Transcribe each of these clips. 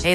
Hey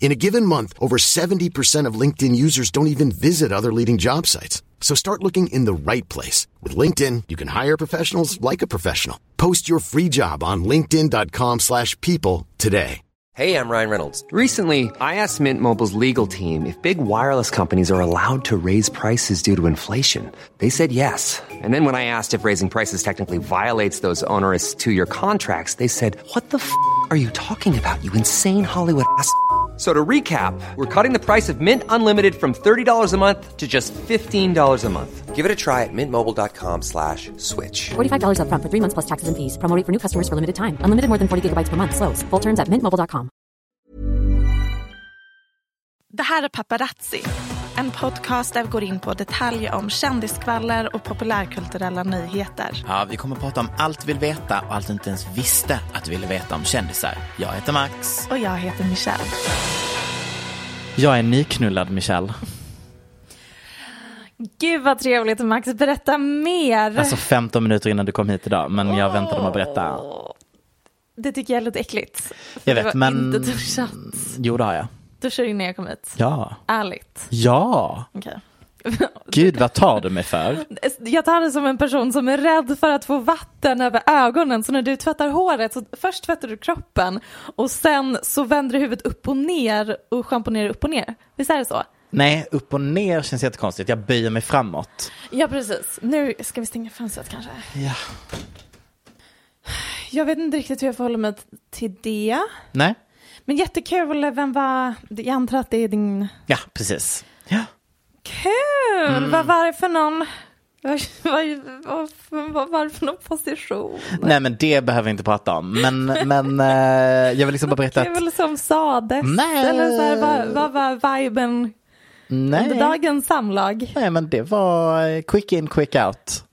In a given month, over 70% of LinkedIn users don't even visit other leading job sites. So start looking in the right place. With LinkedIn, you can hire professionals like a professional. Post your free job on linkedin.com/people slash people today. Hey, I'm Ryan Reynolds. Recently, I asked Mint Mobile's legal team if big wireless companies are allowed to raise prices due to inflation. They said yes. And then when I asked if raising prices technically violates those onerous two year contracts, they said, What the f are you talking about, you insane Hollywood ass? f- a-" So to recap, we're cutting the price of Mint Unlimited from $30 a month to just $15 a month. Give it a try at mintmobile.com slash switch. $45 up front for three months plus taxes and fees. Promo rate for new customers for limited time. Unlimited more than 40 gigabytes per month. Slows. Full terms at mintmobile.com. Det här är Paparazzi, en podcast där vi går in på detaljer om kändiskvaller och populärkulturella nyheter. Ja, vi kommer att prata om allt vi vill veta och allt du inte ens visste att du ville veta om kändisar. Jag heter Max. Och jag heter Michelle. Jag är nyknullad Michelle. Gud vad trevligt Max, berätta mer. Alltså 15 minuter innan du kom hit idag, men jag väntade med att berätta. Det tycker jag låter äckligt. Jag det vet, var men... inte duschat. Jo, det har jag. Duschade innan jag kom hit. Ja. Ärligt. Ja! Okej. Gud, vad tar du mig för? Jag tar det som en person som är rädd för att få vatten över ögonen. Så när du tvättar håret, så först tvättar du kroppen och sen så vänder du huvudet upp och ner och schamponerar upp och ner. Visst är det så? Nej, upp och ner känns jättekonstigt. Jag böjer mig framåt. Ja precis, nu ska vi stänga fönstret kanske. Ja. Jag vet inte riktigt hur jag förhåller mig till det. Nej? Men jättekul, vem var, jag antar att det är din Ja, precis. Ja. Kul! Mm. Vad var det för någon? Vad, vad, vad, vad var det för någon position? Nej, men det behöver vi inte prata om. Men, men eh, jag vill liksom bara Det berätta är att... väl som sades? Nej. Eller så här, vad, vad var viben under Nej. dagens samlag? Nej, men det var eh, quick in, quick out.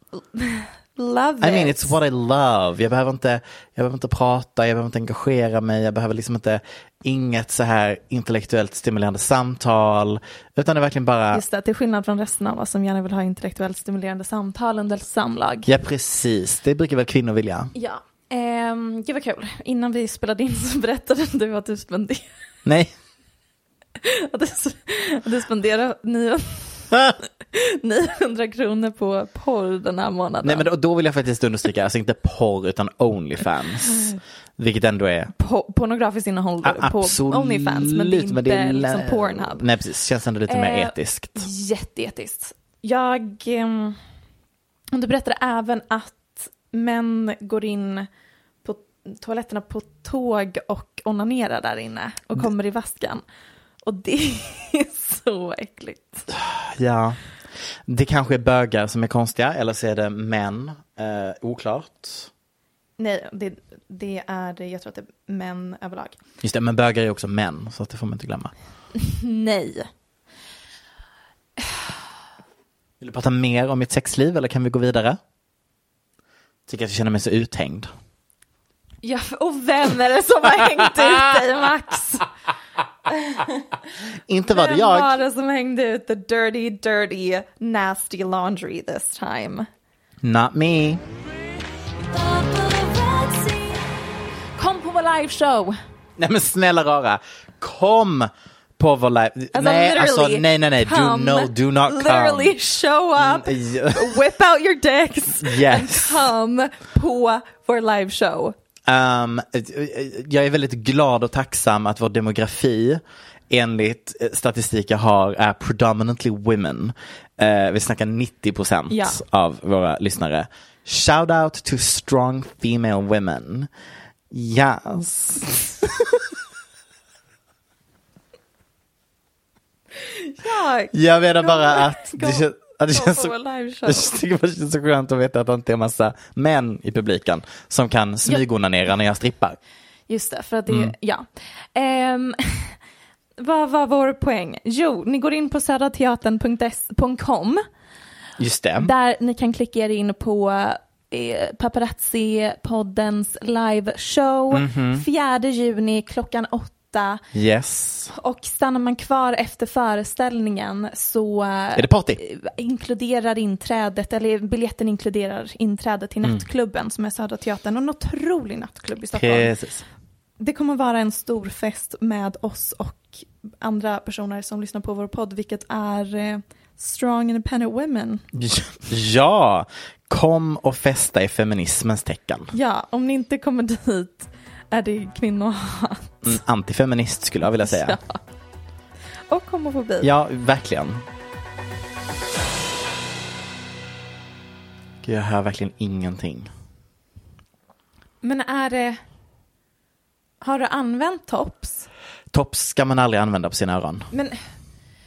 Love I mean it. it's what I love. Jag behöver, inte, jag behöver inte prata, jag behöver inte engagera mig, jag behöver liksom inte inget så här intellektuellt stimulerande samtal. Utan det är verkligen bara, Just det, till skillnad från resten av oss som gärna vill ha intellektuellt stimulerande samtal under samlag. ja precis, det brukar väl kvinnor vilja. Ja. Ehm, gud vad kul. Innan vi spelade in så berättade du att du spenderade, Nej, att du, att du spenderade 900, 900 kronor på porr den här månaden. Nej men då, då vill jag faktiskt understryka, alltså inte porr utan Onlyfans. Vilket ändå är, po- pornografiskt innehåll a- på Ah, absolut. Onlyfans men det är inte lä- liksom Pornhub. Nej precis, känns ändå lite mer Eh, etiskt. Jätteetiskt. Jag, ehm, du berättade även att män går in på toaletterna på tåg och onanerar där inne och kommer i vaskan. Och det är så äckligt. Ja. Det kanske är bögar som är konstiga, eller så är det män. Eh, oklart. Nej, det, det är, jag tror att det är män överlag. Just det, men bögar är också män, så att det får man inte glömma. Nej. Vill du prata mer om mitt sexliv eller kan vi gå vidare? Tycker att jag känner mig så uthängd. Ja, och vem är det som har hängt ut dig Max? Inte var det Vem jag. var det som hängde ut the dirty, dirty, nasty laundry this time? Not me. Kom på vår liveshow! Nej men snälla rara, kom på vår live. nej, alltså literally, nej, nej, nej, do, come. no, do not come. Mm, eh, Literally show up, ja. whip out your dicks, Yes. and come på vår liveshow. Ehm, jag är väldigt glad och tacksam att vår demografi enligt eh, statistik jag har är predominantly women. Eh, vi snackar 90 procent Ja. av våra lyssnare. Shout out to strong female women. Yes. Ja, Jag Oh menar bara att Go- det känns, att det go känns for så... a live show. Jag tycker bara det känns så skönt att veta att det inte är massa män i publiken som kan smygonanera när jag strippar. Just det, för att det Mm. är, ja. Ehm, vad var vår poäng? Jo, ni går in på södrateatern.com Just det. där ni kan klicka er in på eh, Paparazzi-poddens liveshow Mhm. 4 juni klockan åtta Yes. och stannar man kvar efter föreställningen så eh, Är det party? inkluderar inträdet, eller biljetten inkluderar inträdet Mm. till nattklubben som är Södra Teatern och en otrolig nattklubb i Stockholm. Precis. Det kommer vara en stor fest med oss och andra personer som lyssnar på vår podd, vilket är eh, Strong Independent Women. Ja, kom och festa i feminismens tecken. Ja, om ni inte kommer dit är det kvinnohat En Mm, antifeminist skulle jag vilja säga. och homofobi. Ja, verkligen. Gud, jag hör verkligen ingenting. Men är det... Har du använt tops? Tops ska man aldrig använda på sina öron. Men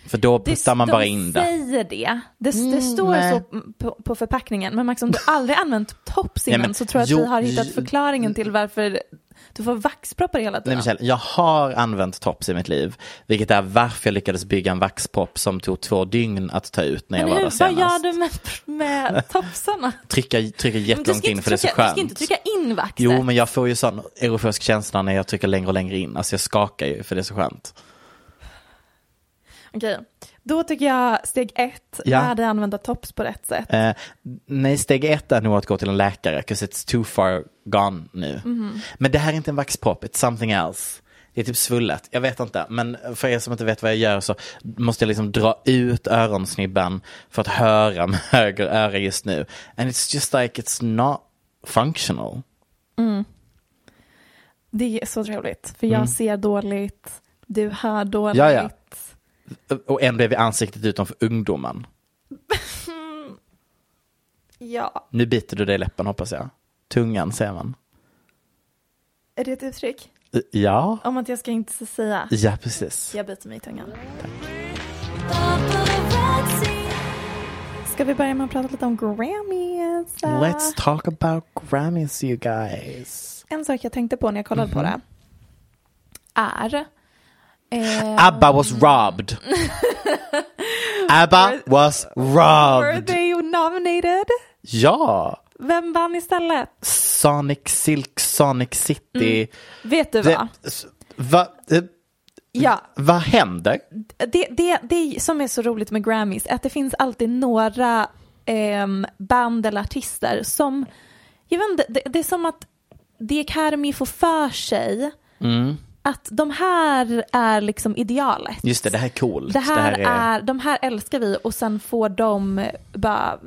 För då det, puttar man bara de in det. säger det. Det, det står nej. så på, på förpackningen. Men Max, om du aldrig använt tops Nej, innan men- så tror jag att jo, vi har hittat jo. förklaringen till varför du får vaxproppar hela Nej, tiden. Michelle, jag har använt tops i mitt liv, vilket är varför jag lyckades bygga en vaxpropp som tog två dygn att ta ut när jag Men var där hur, vad senast. gör du med, med topsarna? Trycka, trycka Men du ska jättelångt in inte för det är så trycka- skönt. Du ska inte trycka in vaxet. Jo, men jag får ju sån euforisk känsla när jag trycker längre och längre in. Alltså jag skakar ju för det är så skönt. Okej, då tycker jag steg ett Ja. är att använda tops på rätt sätt. Eh, nej, steg ett är nog att gå till en läkare, because it's too far gone nu. Men det här är inte en vaxpropp, it's something else. Det är typ svullet, jag vet inte. Men för er som inte vet vad jag gör så måste jag liksom dra ut öronsnibben för att höra med höger öra just nu. And it's just like it's not functional. Det är så trevligt, för jag ser dåligt, du hör dåligt. Mm. Ja, ja. Och ändå är vi ansiktet utanför ungdomen. Ja, Nu biter du dig i läppen hoppas jag. Tungan ser man. är det ett uttryck? I- Ja. Om att jag ska inte säga. Ja, precis. Jag biter mig i tungan. Ska vi börja med att prata lite om Grammys? Let's talk about Grammys you guys. En sak jag tänkte på när jag kollade Mhm. på det är... eh, ABBA was robbed. ABBA was Were robbed. they nominated? Ja. Vem vann istället? Sonic Silk, Sonic City. Vet du Det- vad? s- Mm. va, eh, Ja, vad händer? det, det, det som är så roligt med Grammys är att det finns alltid några ehm, band eller artister som, jag vet inte, det, det är som att The Academy får för sig Mm. att de här är liksom idealet. Just det, det här är coolt. Det här är, de här älskar vi och sen får de bara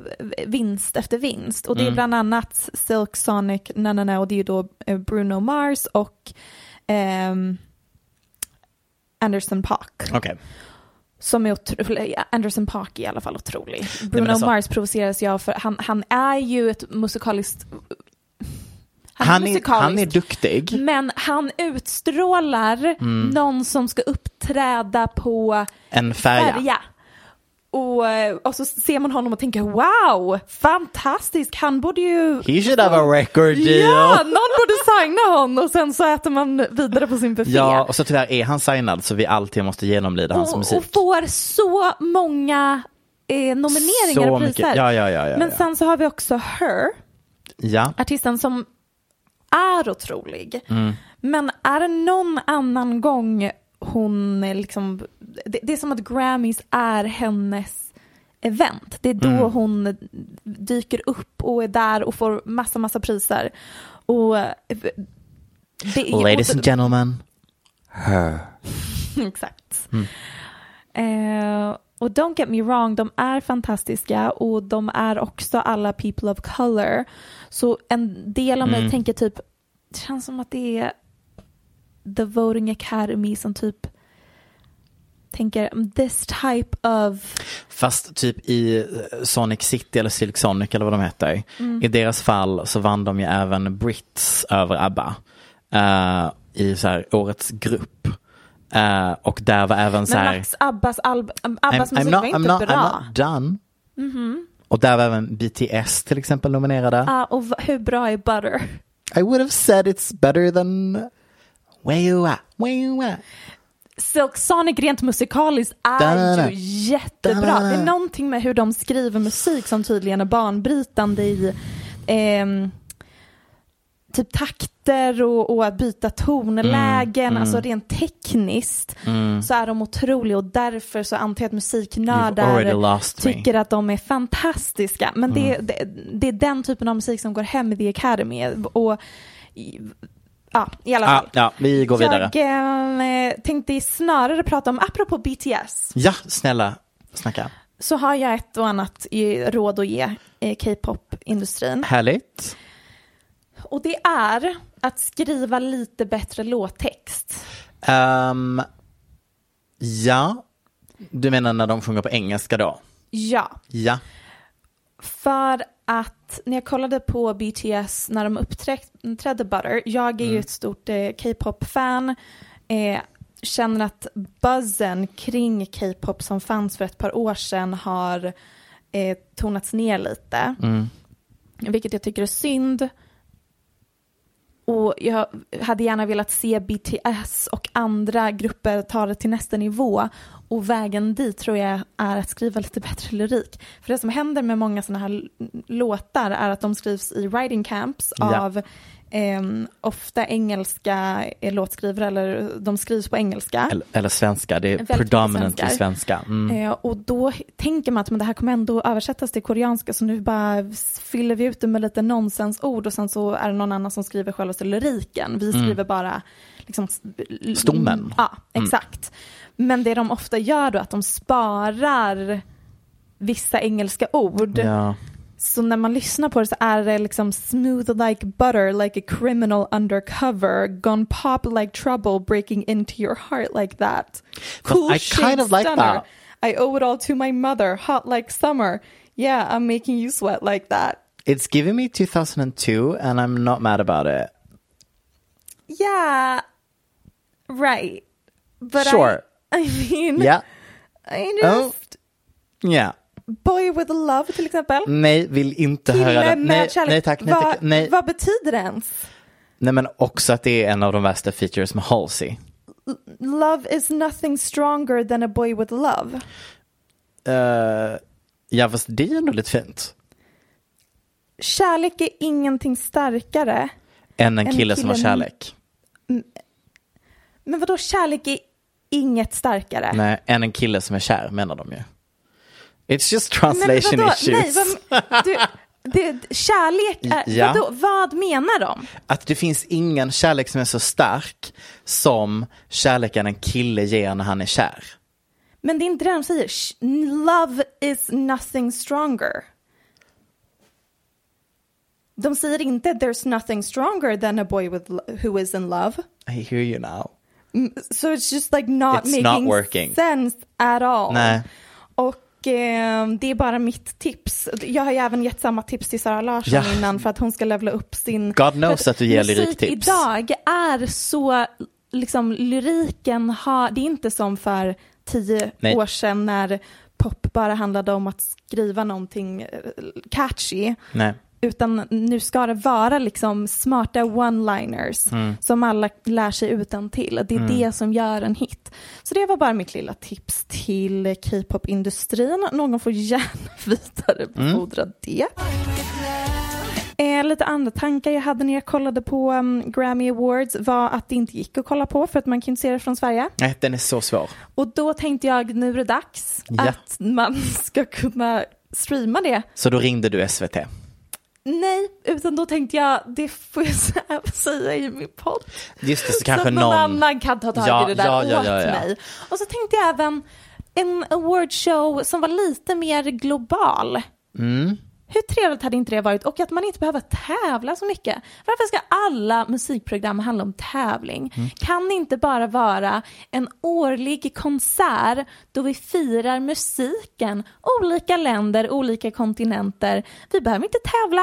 vinst efter vinst. Och det är bland annat Silk Sonic, na, na, na, och det är ju då eh, Bruno Mars och ehm, Anderson Paak. Okej. Som är otro- eller, Anderson Paak är i alla fall otrolig. Bruno alltså- Mars provoceras jag för han, han är ju ett musikaliskt... Han, Han, är är, musikalisk. han är duktig. men han utstrålar någon som ska uppträda på En färja. färja. Och, eh, och så ser man honom och tänker wow, fantastisk, han borde ju... He should have a record deal. Ja, någon borde signa honom och sen så äter man vidare på sin buffé. Ja, och så tyvärr är han signad så vi alltid måste genomlida hans och, musik. och får så många eh, nomineringar Så och priser. mycket. Ja, ja, ja, ja, Men ja. sen så har vi också Her, Ja. artisten som är otrolig. Mm. Men är det någon annan gång hon är liksom, det, det är som att Grammys är hennes event. Det är då Mm. hon dyker upp och är där och får massa, massa priser. Och eh, det, är- Ladies och- and gentlemen. Exakt. Mm. Eh, och don't get me wrong, de är fantastiska och de är också alla people of color. Så en del av mig Mm. tänker typ, det känns som att det är the voting academy som typ tänker mm, this type of... Fast typ i eh, Sonic City eller Silk Sonic eller vad de heter. Mm. I deras fall så vann de ju även Brits över ABBA. eh, I så här årets grupp. Eh, och där var även så Men här. Max Abbas, alb, Abbas I'm, I'm musik not, var I'm inte not, bra. Mm-hmm. I'm not done. Och där var även BTS till exempel nominerade. Ah, och v- hur bra är Butter? I would have said it's better than Wayua, Wayua. Silk Sonic rent musikaliskt är Da-da-da. ju jättebra. Da-da-da. Det är någonting med hur de skriver musik som tydligen är banbrytande i ehm, typ takter och, och att byta tonlägen, Mm, alltså rent tekniskt så är de otroliga och därför så antar jag att You've already musiknördar lost me. Mm. tycker att de är fantastiska. Men det, det, det är den typen av musik som går hem i The Academy. Och, i- ja, i alla Ah, fall. ja, vi går vidare. Jag eh, tänkte snarare prata om, apropå BTS, Ja, snälla snacka. så har jag ett och annat eh, råd att ge eh, K-pop-industrin. Härligt. Och det är att skriva lite bättre låttext. Ehm, ja, du menar när de sjunger på engelska då? Ja, Ja. för att när jag kollade på BTS när de uppträdde Butter, jag är Mm. ju ett stort eh, K-pop-fan, eh, känner att buzzen kring K-pop som fanns för ett par år sedan har eh, tonats ner lite. Vilket jag tycker är synd. Och jag hade gärna velat se BTS och andra grupper ta det till nästa nivå. Och vägen dit tror jag är att skriva lite bättre lyrik. För det som händer med många sådana här l- låtar är att de skrivs i writing camps Ja. av ehm, ofta engelska eh, låtskrivare eller de skrivs på engelska. Eller, eller svenska, det är Väldigt mycket predominantly svenskar. svenska. Mm. Eh, och då h- tänker man att men det här kommer ändå översättas till koreanska så nu bara s- fyller vi ut det med lite nonsensord och sen så är det någon annan som skriver självaste lyriken. Vi skriver bara liksom, s- l- Mm. Stommen. Mm. Ja, exakt. Men det de ofta gör då är att de sparar vissa engelska ord. Ja. Så när man lyssnar på det så är det liksom smooth like butter, like a criminal undercover, gone pop like trouble, breaking into your heart like that. Cool I kind shade of like stunner. that. I owe it all to my mother, hot like summer. Yeah, I'm making you sweat like that. It's giving me 2002 and I'm not mad about it. Yeah, right. But Sure. I, I mean, Ja, I Oh. just, ja. boy with love till exempel. Nej, vill inte höra Mm, det. Kille Nej, med kärlek. nej tack, nej vad, tack. Nej. vad betyder det ens? nej, men också att det är en av de värsta features med Halsey. Love is nothing stronger than a boy with love. Eh, ja, fast det är ändå lite fint. Kärlek är ingenting starkare. Än en, En kille, som har kille- kärlek. Men vadå kärlek är inget starkare? Nej, än en kille som är kär menar de ju. It's just Men translation vadå? Nej, issues. vad, du, det, kärlek är, Ja. vadå, vad menar de? Att det finns ingen kärlek som är så stark som kärleken en kille ger när han är kär. Men det är inte det de säger. Sh- Love is nothing stronger. De säger inte there's nothing stronger than a boy with lo- who is in love. I hear you now. Mm, So it's just like not It's not making working. sense at all. Nej. Och eh, det är bara mitt tips. Jag har ju även gett samma tips till Sara Larsson Ja. innan för att hon ska levla upp sin... God knows för att du ger musik lyriktips. idag är så, liksom lyriken har, det är inte som för tio Nej. år sedan när pop bara handlade om att skriva någonting eh, catchy. Nej. Utan nu ska det vara liksom smarta one-liners som alla lär sig utan till. Det är det som gör en hit. Så det var bara mitt lilla tips till K-pop-industrin. Någon får gärna vidarebefordra det. Eh, lite andra tankar jag hade när jag kollade på um, Grammy Awards var att det inte gick att kolla på för att man kan ju inte se det från Sverige. Nej, den är så svår. Och då tänkte jag nu är det dags Ja. att man ska kunna streama det Så då ringde du SVT. Nej, utan då tänkte jag det får jag så här säga i min podd. Just det, så kanske att någon någon... annan kan ta tag Ja, i det där ja, ja, åt ja, ja. mig. Och så tänkte jag även en awardshow som var lite mer global. Hur trevligt hade inte det varit? Och att man inte behöver tävla så mycket. Varför ska alla musikprogram handla om tävling? Mm. Kan det inte bara vara en årlig konsert då vi firar musiken? Olika länder, olika kontinenter. Vi behöver inte tävla.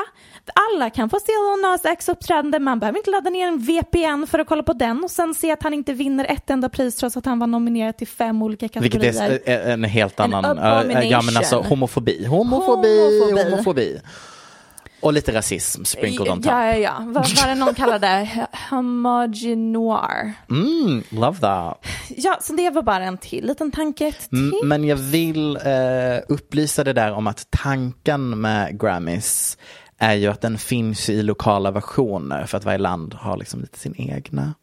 Alla kan få se Lil Nas X uppträdande. Man behöver inte ladda ner en VPN för att kolla på den och sen se att han inte vinner ett enda pris trots att han var nominerad till fem olika kategorier. Vilket är s- eh, en helt En annan... eh, ja men alltså abomination. homofobi. Homofobi, Homofobi. homofobi. Och lite rasism sprinkled on top. Ja, ja, ja. Vad var det någon kallade homogenoir? Mm, love that. Ja, så det var bara en till liten tanke. Ett till. M- Mm, Men jag vill eh, upplysa det där om att tanken med Grammys är ju att den finns i lokala versioner för att varje land har liksom lite sin egna.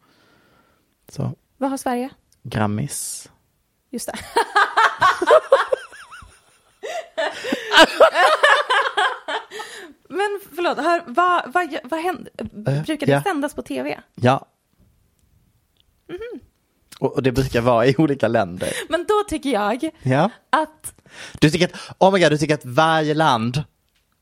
Så Vad har Sverige? Grammys. Just det. Men förlåt, hör, vad, vad, vad händer? Brukar det ja. sändas på tv? Ja. Mhm. Och, och det brukar vara i olika länder. Men då tycker jag Ja. att Du tycker att, oh my god, du tycker att varje land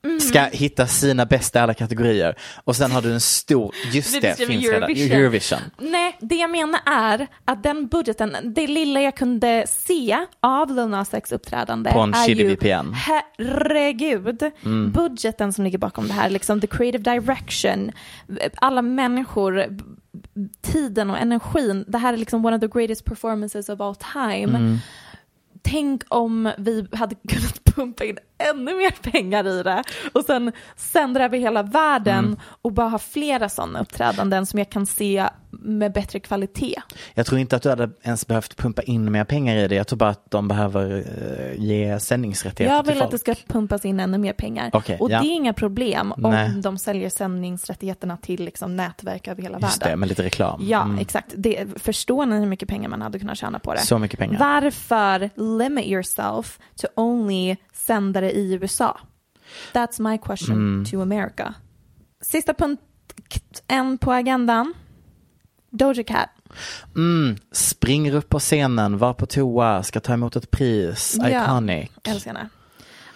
Mhm. ska hitta sina bästa i alla kategorier. Och sen har du en stor, just Vi det, beskriver finns redan. Eurovision. Eurovision. Nej, det jag menar är att den budgeten, det lilla jag kunde se av Lil Nas X uppträdande På en är shitty ju, VPN. herregud, Mm. budgeten som ligger bakom det här, liksom the creative direction, alla människor, b- b- tiden och energin, det här är liksom one of the greatest performances of all time. Mm. Tänk om vi hade kunnat pumpa in ännu mer pengar i det och sen sända det över hela världen Mm. och bara ha flera sådana uppträdanden som jag kan se med bättre kvalitet. Jag tror inte att du hade ens behövt pumpa in mer pengar i det. Jag tror bara att de behöver eh, ge sändningsrättigheter Jag till vill att det folk. ska pumpas in ännu mer pengar. Okej, och ja. det är inga problem om Nej. de säljer sändningsrättigheterna till liksom nätverk över hela Just det, världen. med lite reklam. Ja, exakt. Det, förstår ni hur mycket pengar man hade kunnat tjäna på det? Så mycket pengar. Varför limit yourself to only sändare i USA? That's my question Mm. to America. Sista punkten på agendan. Doja Cat. Springer upp på scenen, var på toa, ska ta emot ett pris. Ja, Iconic. Älskar henne.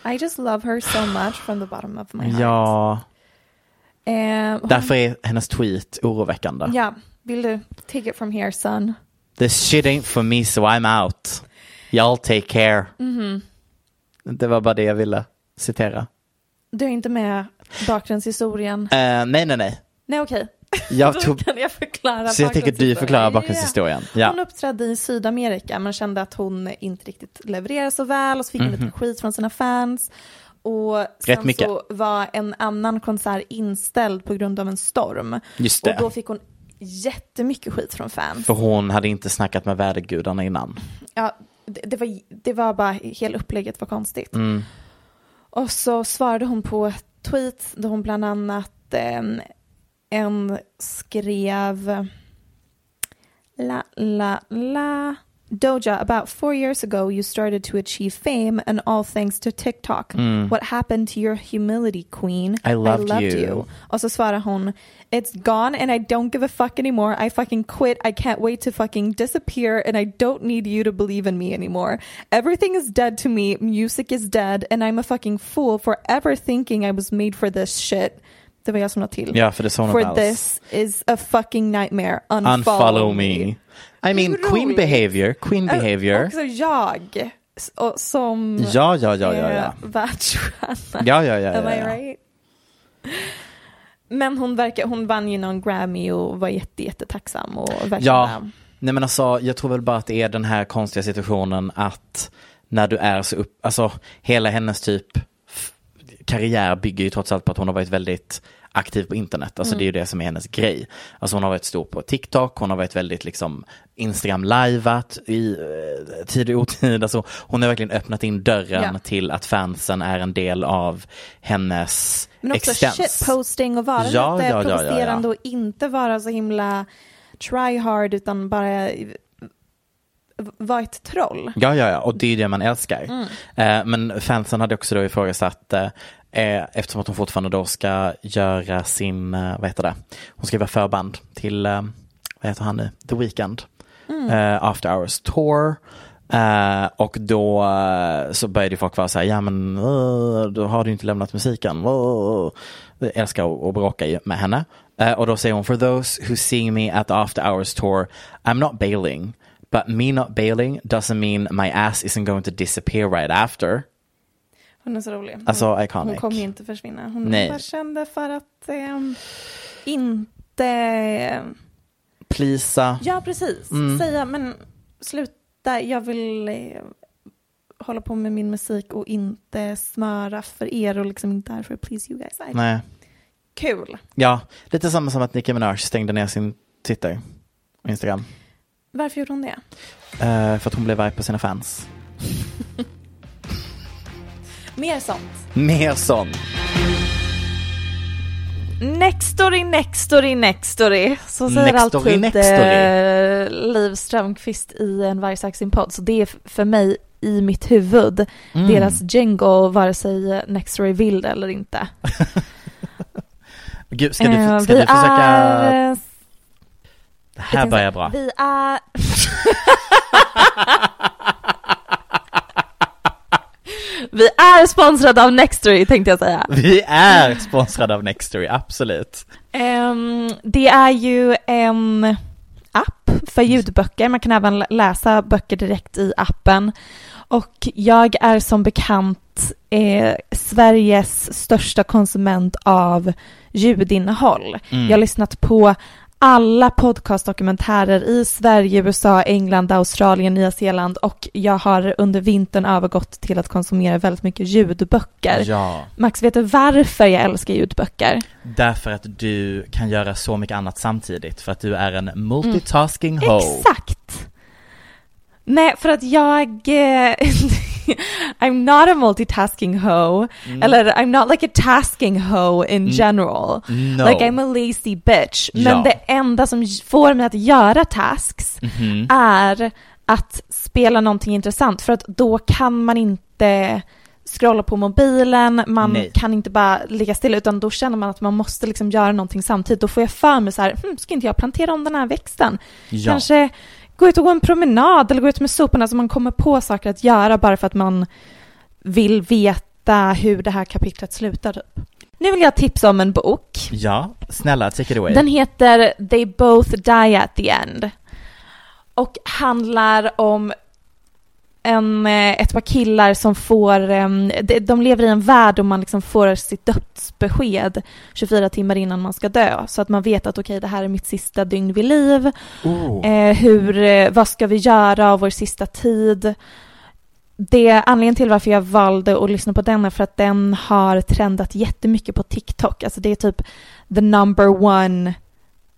I just love her so much from the bottom of my heart. Ja, Eh, hon- därför är hennes tweet oroväckande. Ja, vill du take it from here son? This shit ain't for me so I'm out. Y'all take care. Mm-hmm. Det var bara det jag ville citera. Du är inte med bakgrundshistorien. Eh, nej, nej, nej. Nej okej, Jag då tog... kan jag förklara Så jag tänker att du bakgrundshistorien. förklarar bakgrundshistorien. Ja. Ja. Hon uppträdde i Sydamerika men kände att hon inte riktigt levererade så väl och så fick hon lite skit från sina fans. Och sen Mhm. Rätt mycket. så var en annan konsert inställd på grund av en storm. Just och det. då fick hon jättemycket skit från fans. För hon hade inte snackat med vädergudarna innan. ja, det, det, var, det var bara, hela upplägget var konstigt. Och så svarade hon på ett tweet där hon bland annat eh, en, en skrev La la la Doja, about four years ago you started to achieve fame and all thanks to TikTok. What happened to your humility queen? Mm. I loved you. Och så svarar hon It's gone and I don't give a fuck anymore. I fucking quit. I can't wait to fucking disappear and I don't need you to believe in me anymore. Everything is dead to me. Music is dead and I'm a fucking fool for ever thinking I was made for this shit. Det var jag som la till. Ja, för det sa hon For inte this alls. is a fucking nightmare. Unfollow, Unfollow me. I mean Hur queen roligt. behavior, queen Äh, behavior. Också jag s- och som Ja, ja, ja, ja, eh, ja. världsstjärna. Ja, ja, ja, Am ja, I ja. right? Men hon, verkar, hon vann ju någon Grammy och var jätte, jättetacksam och verkligen Ja, nej men alltså jag tror väl bara att det är den här konstiga situationen att när du är så upp, alltså hela hennes typ f- karriär bygger ju trots allt på att hon har varit väldigt aktiv på internet, alltså Mm. det är ju det som är hennes grej. Alltså hon har varit stor på TikTok, hon har varit väldigt liksom Instagram-lajvat i eh, tid och otid, alltså hon har verkligen öppnat in dörren Ja. till att fansen är en del av hennes Men också existens. shitposting och vara Ja, lite ja, ja, ja, ja. provocerande och inte vara så himla try hard utan bara eh, v- vara ett troll. Ja, ja, ja, och det är det man älskar. Eh, men fansen hade också då ifrågasatt, eh, eh, eftersom att hon fortfarande då ska göra sin, eh, vad heter det, hon ska vara förband till, eh, vad heter han nu, The Weeknd, eh, After Hours Tour. Eh, och då eh, så började ju folk vara så här, ja men eh, då har du inte lämnat musiken. Uh, älskar att- att bråka ju med henne. Eh, och då säger hon, for those who see me at the after hours tour, I'm not bailing. But me not bailing doesn't mean my ass isn't going to disappear right after. Hon är så rolig. Hon, Alltså, Mm. hon iconic. kommer ju inte försvinna. Hon Nej. bara kände för att ehm, inte... Plisa. Ja, precis. Säga, men sluta, jag vill eh, hålla på med min musik och inte smöra för er och liksom inte här för att please you guys. Nej. Nej. Kul. Ja, lite samma som att Nicki Minaj stängde ner sin Twitter och Instagram. Varför gjorde hon det? Eh, för att hon blev arg på sina fans. Mer sånt. Mer sånt. Next story, next story, next story. Så säger Next alltid story, next story. eh, Liv Strömquist i en Vargsaxin-podd. Så det är f- för mig i mitt huvud Mm. deras Django vare sig Next Story vill det eller inte. Gud, ska du, Eh, ska du vi försöka... Ah. är eh, Det här börjar bra. Vi är... Vi är sponsrade av Nextory tänkte jag säga. Vi är sponsrade av Nextory, absolut. Ehm, det är ju en app för ljudböcker. Man kan även lä- läsa böcker direkt i appen. Och jag är som bekant eh, Sveriges största konsument av ljudinnehåll. Jag har lyssnat på alla podcastdokumentärer i Sverige, USA, England, Australien, Nya Zeeland och jag har under vintern övergått till att konsumera väldigt mycket ljudböcker. Ja, Max, vet du varför jag älskar ljudböcker? därför att du kan göra så mycket annat samtidigt. För att du är en multitasking mm. hoe. Exakt. Nej, för att jag... eh, I'm not a multitasking hoe. Mm. Eller I'm not like a tasking hoe in general. No. Like I'm a lazy bitch. Men Ja. det enda som j- får mig att göra tasks Mhm. är att spela någonting intressant. För att då kan man inte scrolla på mobilen, man Nej. kan inte bara ligga still utan då känner man att man måste liksom göra någonting samtidigt. Då får jag för mig så här, hm, ska inte jag plantera om den här växten? Ja. Kanske gå ut och gå en promenad eller gå ut med soporna så man kommer på saker att göra bara för att man vill veta hur det här kapitlet slutar typ. Nu vill jag tipsa om en bok. Ja, snälla, take it away. Den heter They Both Die At The End. Och handlar om en, eh, ett par killar som får, em, de- de lever i en värld och man liksom får sitt dödsbesked 24 timmar innan man ska dö. Så att man vet att okej, det här är mitt sista dygn vid liv. Oh. Eh, hur, eh, vad ska vi göra av vår sista tid? Det anledningen till varför jag valde att lyssna på den är för att den har trendat jättemycket på TikTok. Alltså det är typ the number one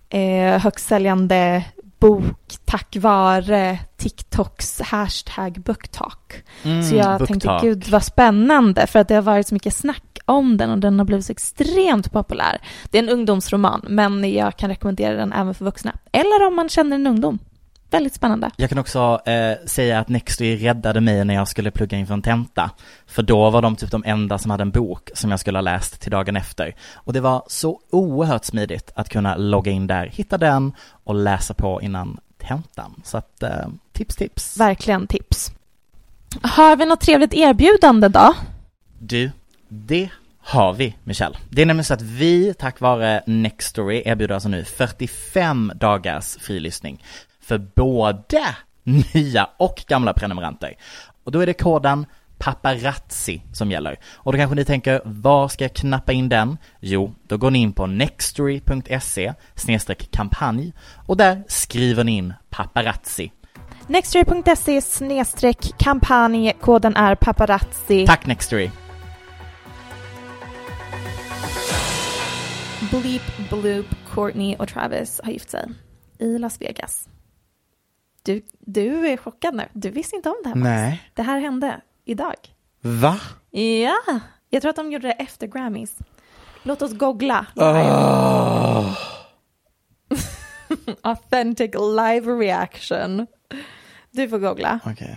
eh, högstsäljande bok tack vare TikToks hashtag booktalk. Mm, Så jag book tänkte talk. gud vad spännande för att det har varit så mycket snack om den och den har blivit så extremt populär. Det är en ungdomsroman men jag kan rekommendera den även för vuxna. Eller om man känner en ungdom. Väldigt spännande. Jag kan också eh, säga att Nextory räddade mig när jag skulle plugga inför en tenta. För då var de typ de enda som hade en bok som jag skulle ha läst till dagen efter. Och det var så oerhört smidigt att kunna logga in där, hitta den och läsa på innan tentan. Så att, eh, tips tips. Verkligen tips. Har vi något trevligt erbjudande då? Du, det har vi Michelle. Det är nämligen så att vi tack vare Nextory erbjuder alltså nu 45 dagars fri lyssning för både nya och gamla prenumeranter. Och då är det koden paparazzi som gäller. Och då kanske ni tänker, var ska jag knappa in den? Jo, då går ni in på nextory.se snedstreck kampanj och där skriver ni in paparazzi. Nextory.se snedstreck kampanj. Koden är paparazzi. Tack Nextory! Bleep Bloop, Courtney och Travis har gift sig i Las Vegas. Du, du är chockad nu. Du visste inte om det här Max. Nej. Det här hände idag. Va? Ja, jag tror att de gjorde det efter Grammys. Låt oss googla. Ah. Authentic live reaction. Du får googla. Okej. Okay.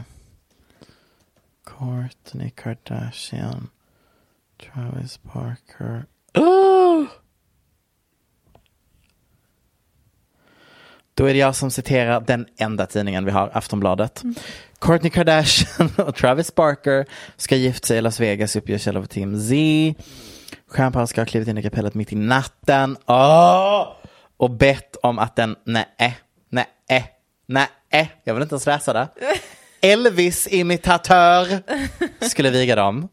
Kourtney Kardashian. Travis Barker. Oh! Då är det jag som citerar den enda tidningen vi har, Aftonbladet. Kourtney Kardashian och Travis Barker ska gifta sig i Las Vegas uppger källor på TMZ. Stjärnparet ska ha klivit in i kapellet mitt i natten. Åh! Och bett om att den, nej, nej, nej, jag vill inte ens läsa det. Elvis-imitatör skulle viga dem.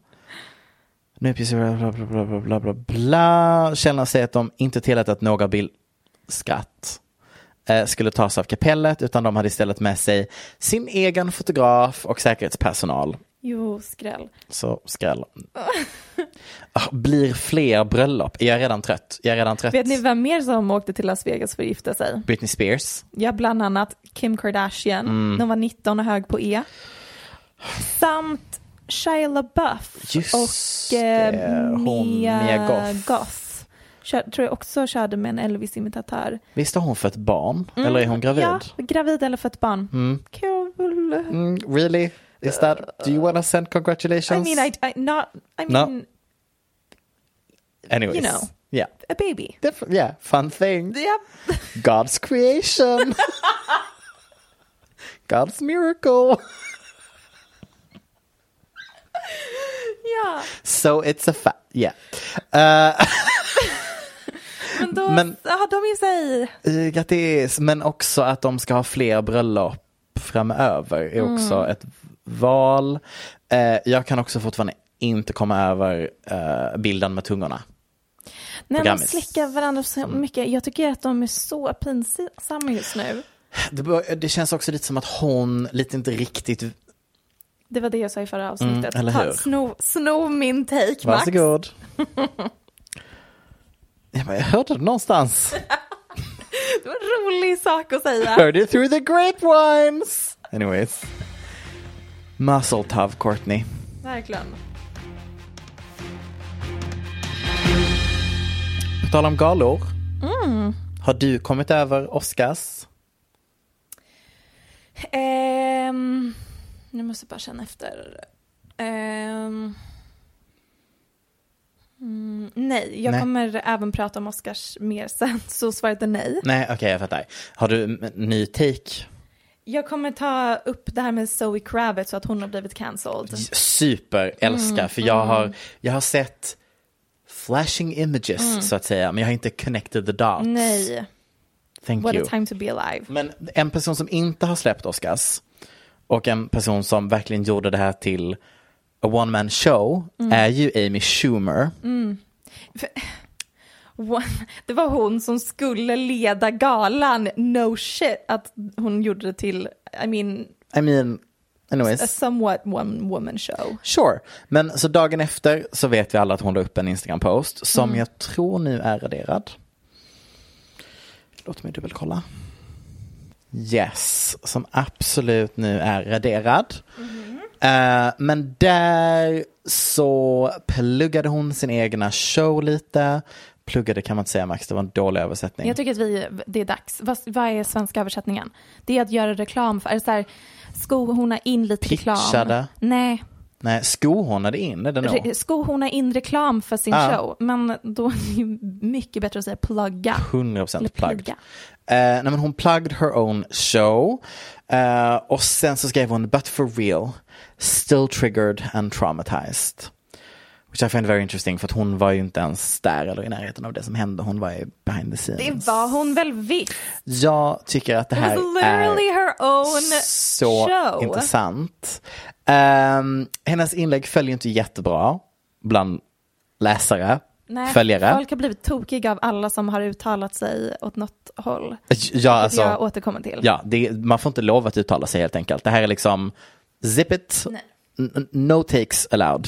Nu uppges bla bla bla bla bla bla bla bla. Källorna säger att de inte tillät att några bildskatt eh, skulle tas av kapellet utan de hade istället med sig sin egen fotograf och säkerhetspersonal. Jo, skräll. Så skräll. Ah, Blir fler bröllop? Jag är redan trött. Jag är redan trött. Vet ni vem mer som åkte till Las Vegas för att gifta sig? Britney Spears. Ja, bland annat Kim Kardashian. Mm. De var 19 och hög på E. Samt Shia LaBeouf Just och eh, det, hon, Mia, Mia Goth. Goth. Kör, tror jag också körde med en Elvis-imitatör. Visst har hon fött barn? Eller är hon gravid? Mm, Ja, gravid eller fött barn. Kul. Mm, really? Is that, do you wanna send I congratulations? mean, I, I, not, I No. mean, Anyways. you know. Yeah. a baby. Different, yeah, fun thing. Yep. God's creation. God's miracle. Ja, So it's a fact. Yeah. men då Men- har de ju sig. Eh, Grattis, men också att de ska ha fler bröllop framöver är också ett val. Eh, jag kan också fortfarande inte komma över eh, bilden med tungorna. När de Programmis. slickar varandra så Mm. mycket. Jag tycker att de är så pinsamma just nu. Det, bör- det känns också lite som att hon lite inte riktigt... Det var det jag sa i förra avsnittet. Mm, eller Ta, hur? sno, sno min take Max. Varsågod. jag, bara, jag hörde det någonstans. Det var en rolig sak att säga. Heard it through the grapevines! Anyways. Muscle tough Courtney. Verkligen. På tal om galor. Har du kommit över Oscars? Ehm, nu måste jag bara känna efter. Ehm, mm, nej, jag Nej. kommer även prata om Oscars mer sen, så svaret är nej. Nej, okej jag fattar. Har du en ny take? Jag kommer ta upp det här med Zoe Kravitz och att hon har blivit cancelled. Super, älskar. för jag, har, jag har sett flashing images så att säga. Men jag har inte connected the dots. Nej, Thank what a you. time to be alive. Men en person som inte har släppt Oscars och en person som verkligen gjorde det här till a one man show är ju Amy Schumer. Hon- Det var hon som skulle leda galan, no shit, att hon gjorde det till, I mean, I mean, a anyways. somewhat one woman show. Sure. Men så dagen efter så vet vi alla att hon la upp en Instagram-post som Mm. jag tror nu är raderad. Låt mig dubbelkolla. Yes, som absolut nu är raderad. Mm-hmm. Eh, men där så pluggade hon sin egna show lite. Pluggade kan man inte säga Max, det var en dålig översättning. Jag tycker att vi, det är dags. Vad, vad är svenska översättningen? Det är att göra reklam för, eller så här, skohorna in lite reklam. Pitchade. Nej, Nej, skohornade in är det nog. re, skohorna in reklam för sin Ja. show. Men då är det ju mycket bättre att säga plugga. 100% Eller plugged. plugga. Eh, nej, men hon plugged her own show. Eh, och sen så skrev hon but for real, still triggered and traumatized. Which I find very interesting för att hon var ju inte ens där eller i närheten av det som hände. Hon var ju behind the scenes. Det var hon väl visst. Jag tycker att det It was här literally är her own så show. intressant. Ehm, hennes inlägg följer inte jättebra bland läsare, Nej, följare. Folk har blivit tokiga av alla som har uttalat sig åt något håll. Ja, Alltså, alltså, jag återkommer till. Ja, det, man får inte lov att uttala sig helt enkelt. Det här är liksom zip it, n- n- no takes allowed.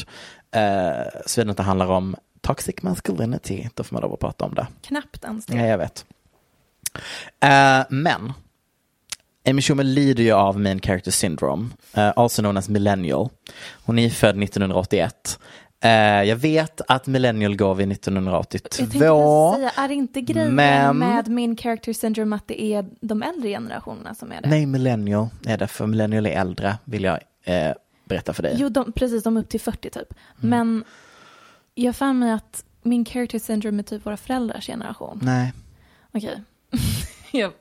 Uh, Såvida det inte handlar om toxic masculinity, då får man lov att prata om det. Knappt ens det. Ja, jag vet. Eh, men, Amy Schumer lider ju av main character syndrome, eh, also known as millennial. Hon är född 1981. Eh, jag vet att millennial går vid 1982. Jag tänkte precis säga, är inte grejen men- med min character syndrome att det är de äldre generationerna som är det? Nej, millennial är det, för millennial är äldre, vill jag eh, berätta för dig. Jo, de, precis, de är upp till 40 typ. Mm. Men jag har för Mm. mig att min character syndrome är typ våra föräldrars generation. Nej, Okej. jag,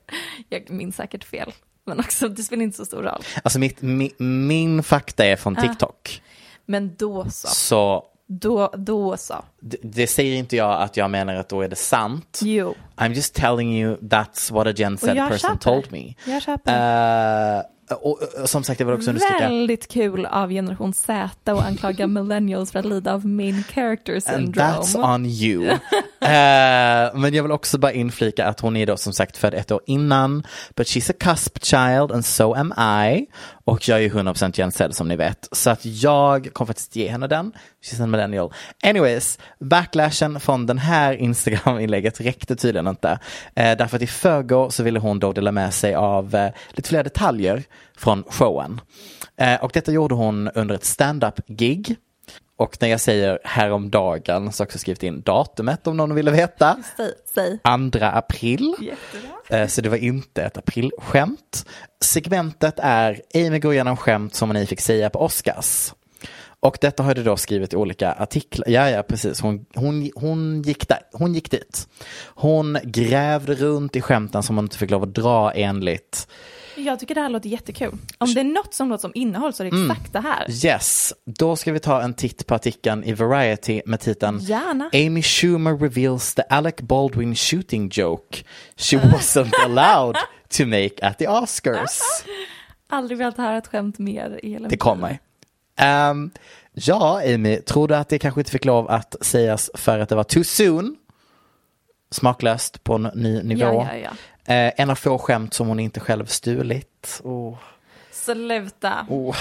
jag minns säkert fel. Men också, det spelar inte så stor roll. Alltså mitt, mi, min fakta är från TikTok. Men då så. Så Då, då så. d- det säger inte jag att jag menar att då är det sant. Jo. I'm just telling you that's what a gen Och Z jag person köper. told me. Jag köper. Eh, och, och som sagt, jag vill också understryka. Väldigt kul av generation Z att anklaga millennials för att lida av main character And syndrome. that's on you. Eh, men jag vill också bara inflika att hon är då som sagt född ett år innan. But she's a cusp child and so am I. Och jag är ju 100% Gen Z som ni vet. Så att jag kommer faktiskt ge henne den. She's a millennial. Anyways, backlashen från den här Instagram-inlägget räckte tydligen inte. Eh, därför att i förrgår så ville hon då dela med sig av eh, lite fler detaljer från showen. Eh, och detta gjorde hon under ett stand-up-gig. Och när jag säger häromdagen så har jag också skrivit in datumet om någon ville veta. Säg, säg. 2 april. Eh, Så det var inte ett aprilskämt. Segmentet är Amy går igenom skämt som ni fick säga på Oscars. Och detta har du då skrivit i olika artiklar. Ja, ja, precis. Hon, hon, hon, gick där. hon gick dit. Hon grävde runt i skämten som hon inte fick lov att dra enligt Jag tycker det här låter jättekul. Om det är något som låter som innehåll så är Mm. det exakt det här. Yes, då ska vi ta en titt på artikeln i Variety med titeln Gärna. Amy Schumer reveals the Alec Baldwin shooting joke she wasn't allowed to make at the Oscars. Aldrig velat höra ett skämt mer i hela Det mitt liv. kommer. Ehm, ja, Amy, tror du att det kanske inte fick lov att sägas för att det var too soon? Smaklöst på en ny nivå. Ja, ja, ja. Eh, en av få skämt som hon inte själv stulit. Åh. Sluta. Oh.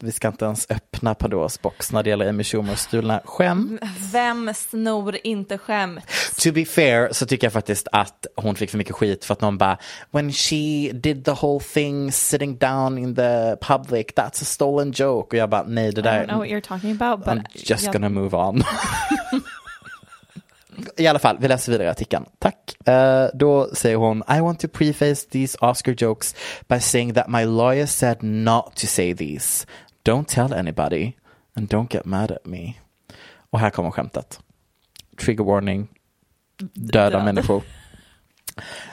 Vi ska inte ens öppna Pandoras box när det gäller Amy Schumers stulna skämt. Vem snor inte skämt? To be fair så tycker jag faktiskt att hon fick för mycket skit för att någon bara When she did the whole thing sitting down in the public that's a stolen joke och jag bara nej det I don't där know what you're talking about but I'm just jag, gonna move on. I alla fall, vi läser vidare i artikeln. Tack. Eh, då säger hon I want to preface these Oscar jokes by saying that my lawyer said not to say these. Don't tell anybody and don't get mad at me. Och här kommer skämtet. Trigger warning. Döda Död. människor.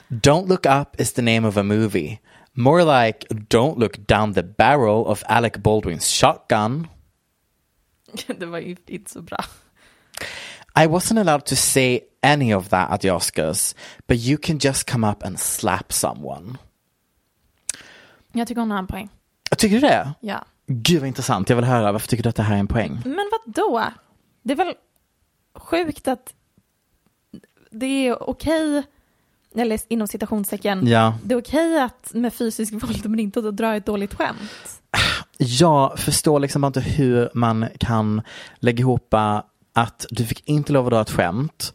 Don't Look Up is the name of a movie. More like Don't Look Down the Barrel of Alec Baldwin's shotgun. det var ju inte så bra. I wasn't allowed to say any of that at the Oscars, but you can just come up and slap someone. Jag tycker hon har en poäng. Tycker du det? Ja. Gud vad intressant, jag vill höra varför tycker du att det här är en poäng? Men vad då? Det är väl sjukt att det är okej, eller inom citationstecken, Ja. det är okej att med fysisk våld men inte att dra ett dåligt skämt. Jag förstår liksom bara inte hur man kan lägga ihop eh, att du fick inte lov att dra ett skämt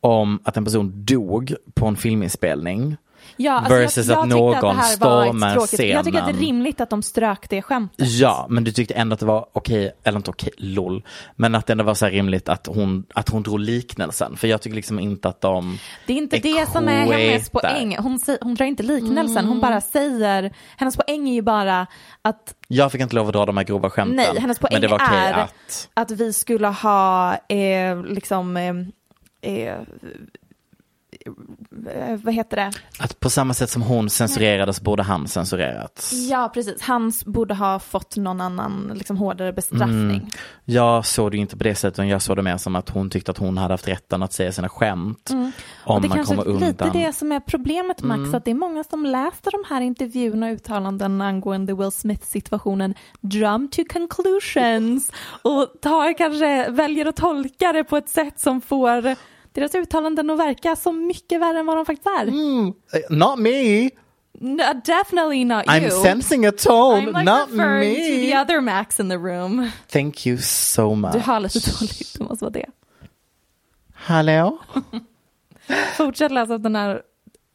om att en person dog på en filminspelning. Ja, alltså Versus att tyckte det någon här var ett stormar tråkigt- Jag tycker att det är scenen. rimligt att de strök det skämtet. Ja, men du tyckte ändå att det var okej, eller inte okej, LOL. Men att det ändå var så här rimligt att hon, att hon drog liknelsen. För jag tycker liksom inte att de... Det är inte det som är hennes Equator. poäng. Hon, säger- hon drar inte liknelsen, Mm. hon bara säger, hennes poäng är ju bara att Jag fick inte lov att dra de här grova skämten. Nej, hennes poäng men det var okej är att... att vi skulle ha eh, liksom eh, eh, eh, vad heter det? Att på samma sätt som hon censurerades borde han censurerats. Ja, precis. Hans borde ha fått någon annan liksom, hårdare bestraffning. Mm. Jag såg det ju inte på det sättet, utan jag såg det mer som att hon tyckte att hon hade haft rätten att säga sina skämt. Mm. Och Om det man kanske kommer är lite undan. Mm. det som är problemet Max, att det är många som läser de här intervjuerna och uttalanden angående Will Smith-situationen, drum to conclusions och tar kanske, väljer att tolka det på ett sätt som får deras uttalanden att verka så mycket värre än vad de faktiskt är. Eh, Not me! No, definitely not you. I'm sensing a tone, I'm like not referring to the me! Ah. other Max in the room. Thank you so much. Du har lite dåligt, det måste vara det. Hallå? Fortsätt läsa den här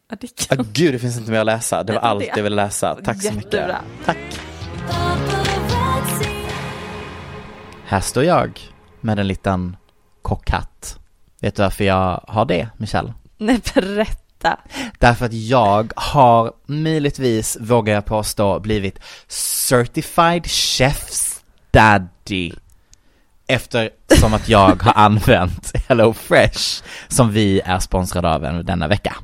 Ah, artikeln. gud, det finns inte mer att läsa. Det var Nej, allt det- jag ville läsa. Tack så mycket. Jättebra. Tack. Här står jag med en liten kockhatt. Vet du varför jag har det, Michelle? Nej, berätta. Därför att jag har, möjligtvis vågar jag påstå, blivit certified chef's daddy. Eftersom att jag har använt Hello Fresh som vi är sponsrade av denna vecka.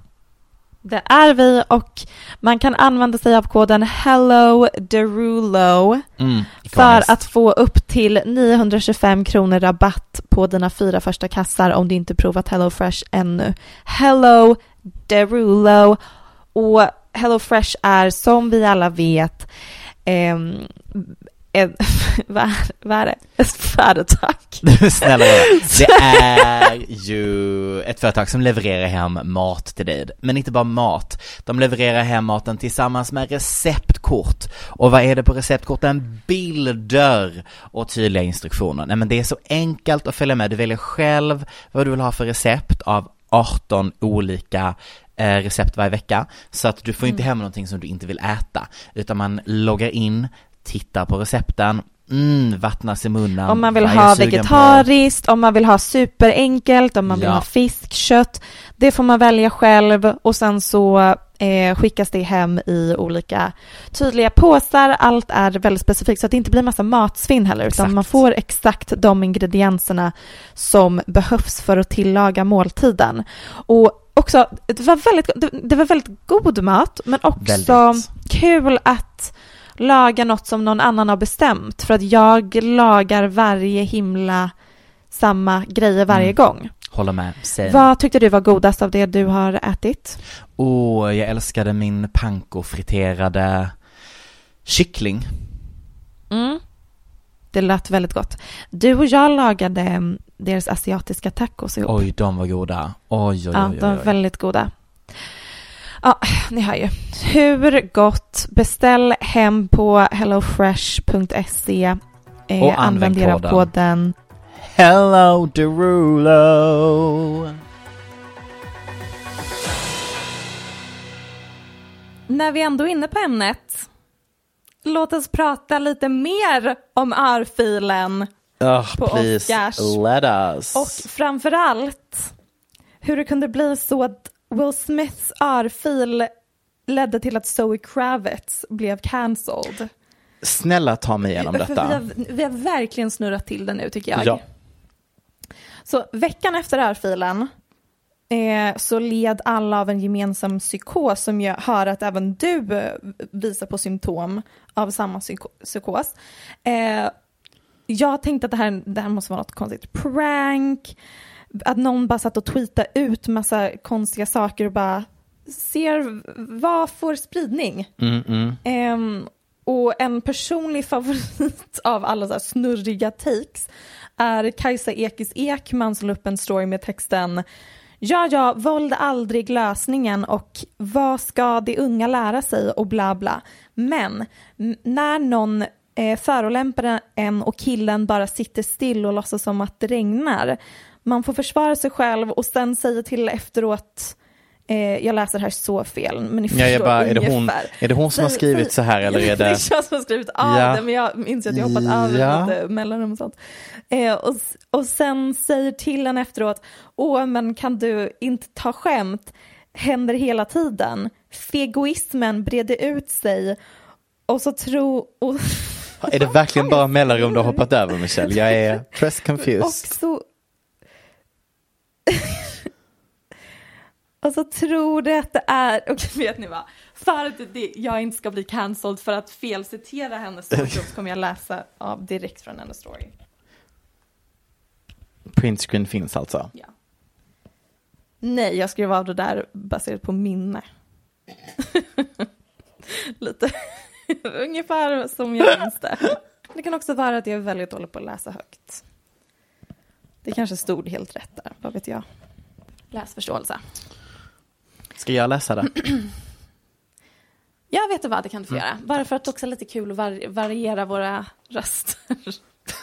Det är vi och man kan använda sig av koden Hello Derulo Mm, för ikoniskt. att få upp till 925 kronor rabatt på dina fyra första kassar om du inte provat HelloFresh ännu. Hello Derulo och HelloFresh är som vi alla vet ehm, en, vad, är- vad är det? Ett företag. Snälla bara. Det är ju ett företag som levererar hem mat till dig. Men inte bara mat. De levererar hem maten tillsammans med receptkort. Och vad är det på receptkorten? Bilder och tydliga instruktioner. Nej men det är så enkelt att följa med. Du väljer själv vad du vill ha för recept av 18 olika eh, recept varje vecka. Så att du får inte hem någonting som du inte vill äta. Utan man loggar in, tittar på recepten, mm, vattnas i munnen. Om man vill Vad är jag ha sugen på? vegetariskt, om man vill ha superenkelt, om man vill Ja. ha fisk, kött. Det får man välja själv och sen så eh, skickas det hem i olika tydliga påsar. Allt är väldigt specifikt så att det inte blir massa matsvinn heller Exakt. utan man får exakt de ingredienserna som behövs för att tillaga måltiden. Och också, det var väldigt, go- det, det var väldigt god mat men också Väldigt. kul att laga något som någon annan har bestämt för att jag lagar varje himla samma grejer varje Mm. Eh. gång. Håller med. Same. Vad tyckte du var godast av det du har ätit? Åh, jag älskade min panko-friterade kyckling. Mm. Det lät väldigt gott. Du och jag lagade mm, deras asiatiska tacos ihop. Oj, de var goda. Oj, oj, ja, oj, de oj, var oj. väldigt goda. Ja, ni hör ju. Hur gott? Beställ hem på hellofresh.se. Eh, Och använd era koden. koden. Hello Derulo! När vi ändå är inne på ämnet, låt oss prata lite mer om örfilen Oh, På please, Oh. Oscars. let us. och framförallt hur det kunde bli så att Will Smiths örfil ledde till att Zoe Kravitz blev cancelled. Snälla ta mig igenom För Vi detta. har, vi har verkligen snurrat till det nu tycker jag. Ja, Så veckan efter örfilen eh, så led alla av en gemensam psykos som jag hör att även du eh, visar på symptom av samma psyko- psykos. Eh, jag tänkte att det här, det här måste vara något konstigt prank, att någon bara satt och tweetade ut massa konstiga saker och bara ser vad får spridning. mm, mm. Ehm, och en personlig favorit av alla så här snurriga takes är Kajsa Ekis Ekman som la upp en story med texten Ja, ja, våld är aldrig lösningen och vad ska de unga lära sig och bla bla. Men n- när någon eh, förolämpar en och killen bara sitter still och låtsas som att det regnar, man får försvara sig själv och sen säga till efteråt eh, jag läser här så fel, men ni förstår ja jag bara, är, det hon, ungefär. är det hon som har Säg- skrivit säg- så här eller är Det det... är jag som har skrivit av Ja. det men jag minns ju att jag hoppat över Ja. lite mellanrum och sånt. Eh, och, s- och sen säger till en efteråt, åh men kan du inte ta skämt, händer hela tiden. Fegoismen breder ut sig och så tro... Och, Är det verkligen bara mellanrum du har hoppat över Michelle? Jag är press och confused. så... Och så tror det att det är, och vet ni vad, för att det, jag inte ska bli cancelled för att felcitera hennes story så kommer jag läsa av direkt från hennes story. Printscreen finns alltså. Ja. Nej, jag skrev av det där baserat på minne. Lite ungefär som jag minns det. Det kan också vara att jag är väldigt dålig på att läsa högt. Det kanske stod helt rätt där, vad vet jag. Läsförståelse. Ska jag läsa det? Jag vet du vad, det kan du få göra. Bara för att också lite kul att var- variera våra röster.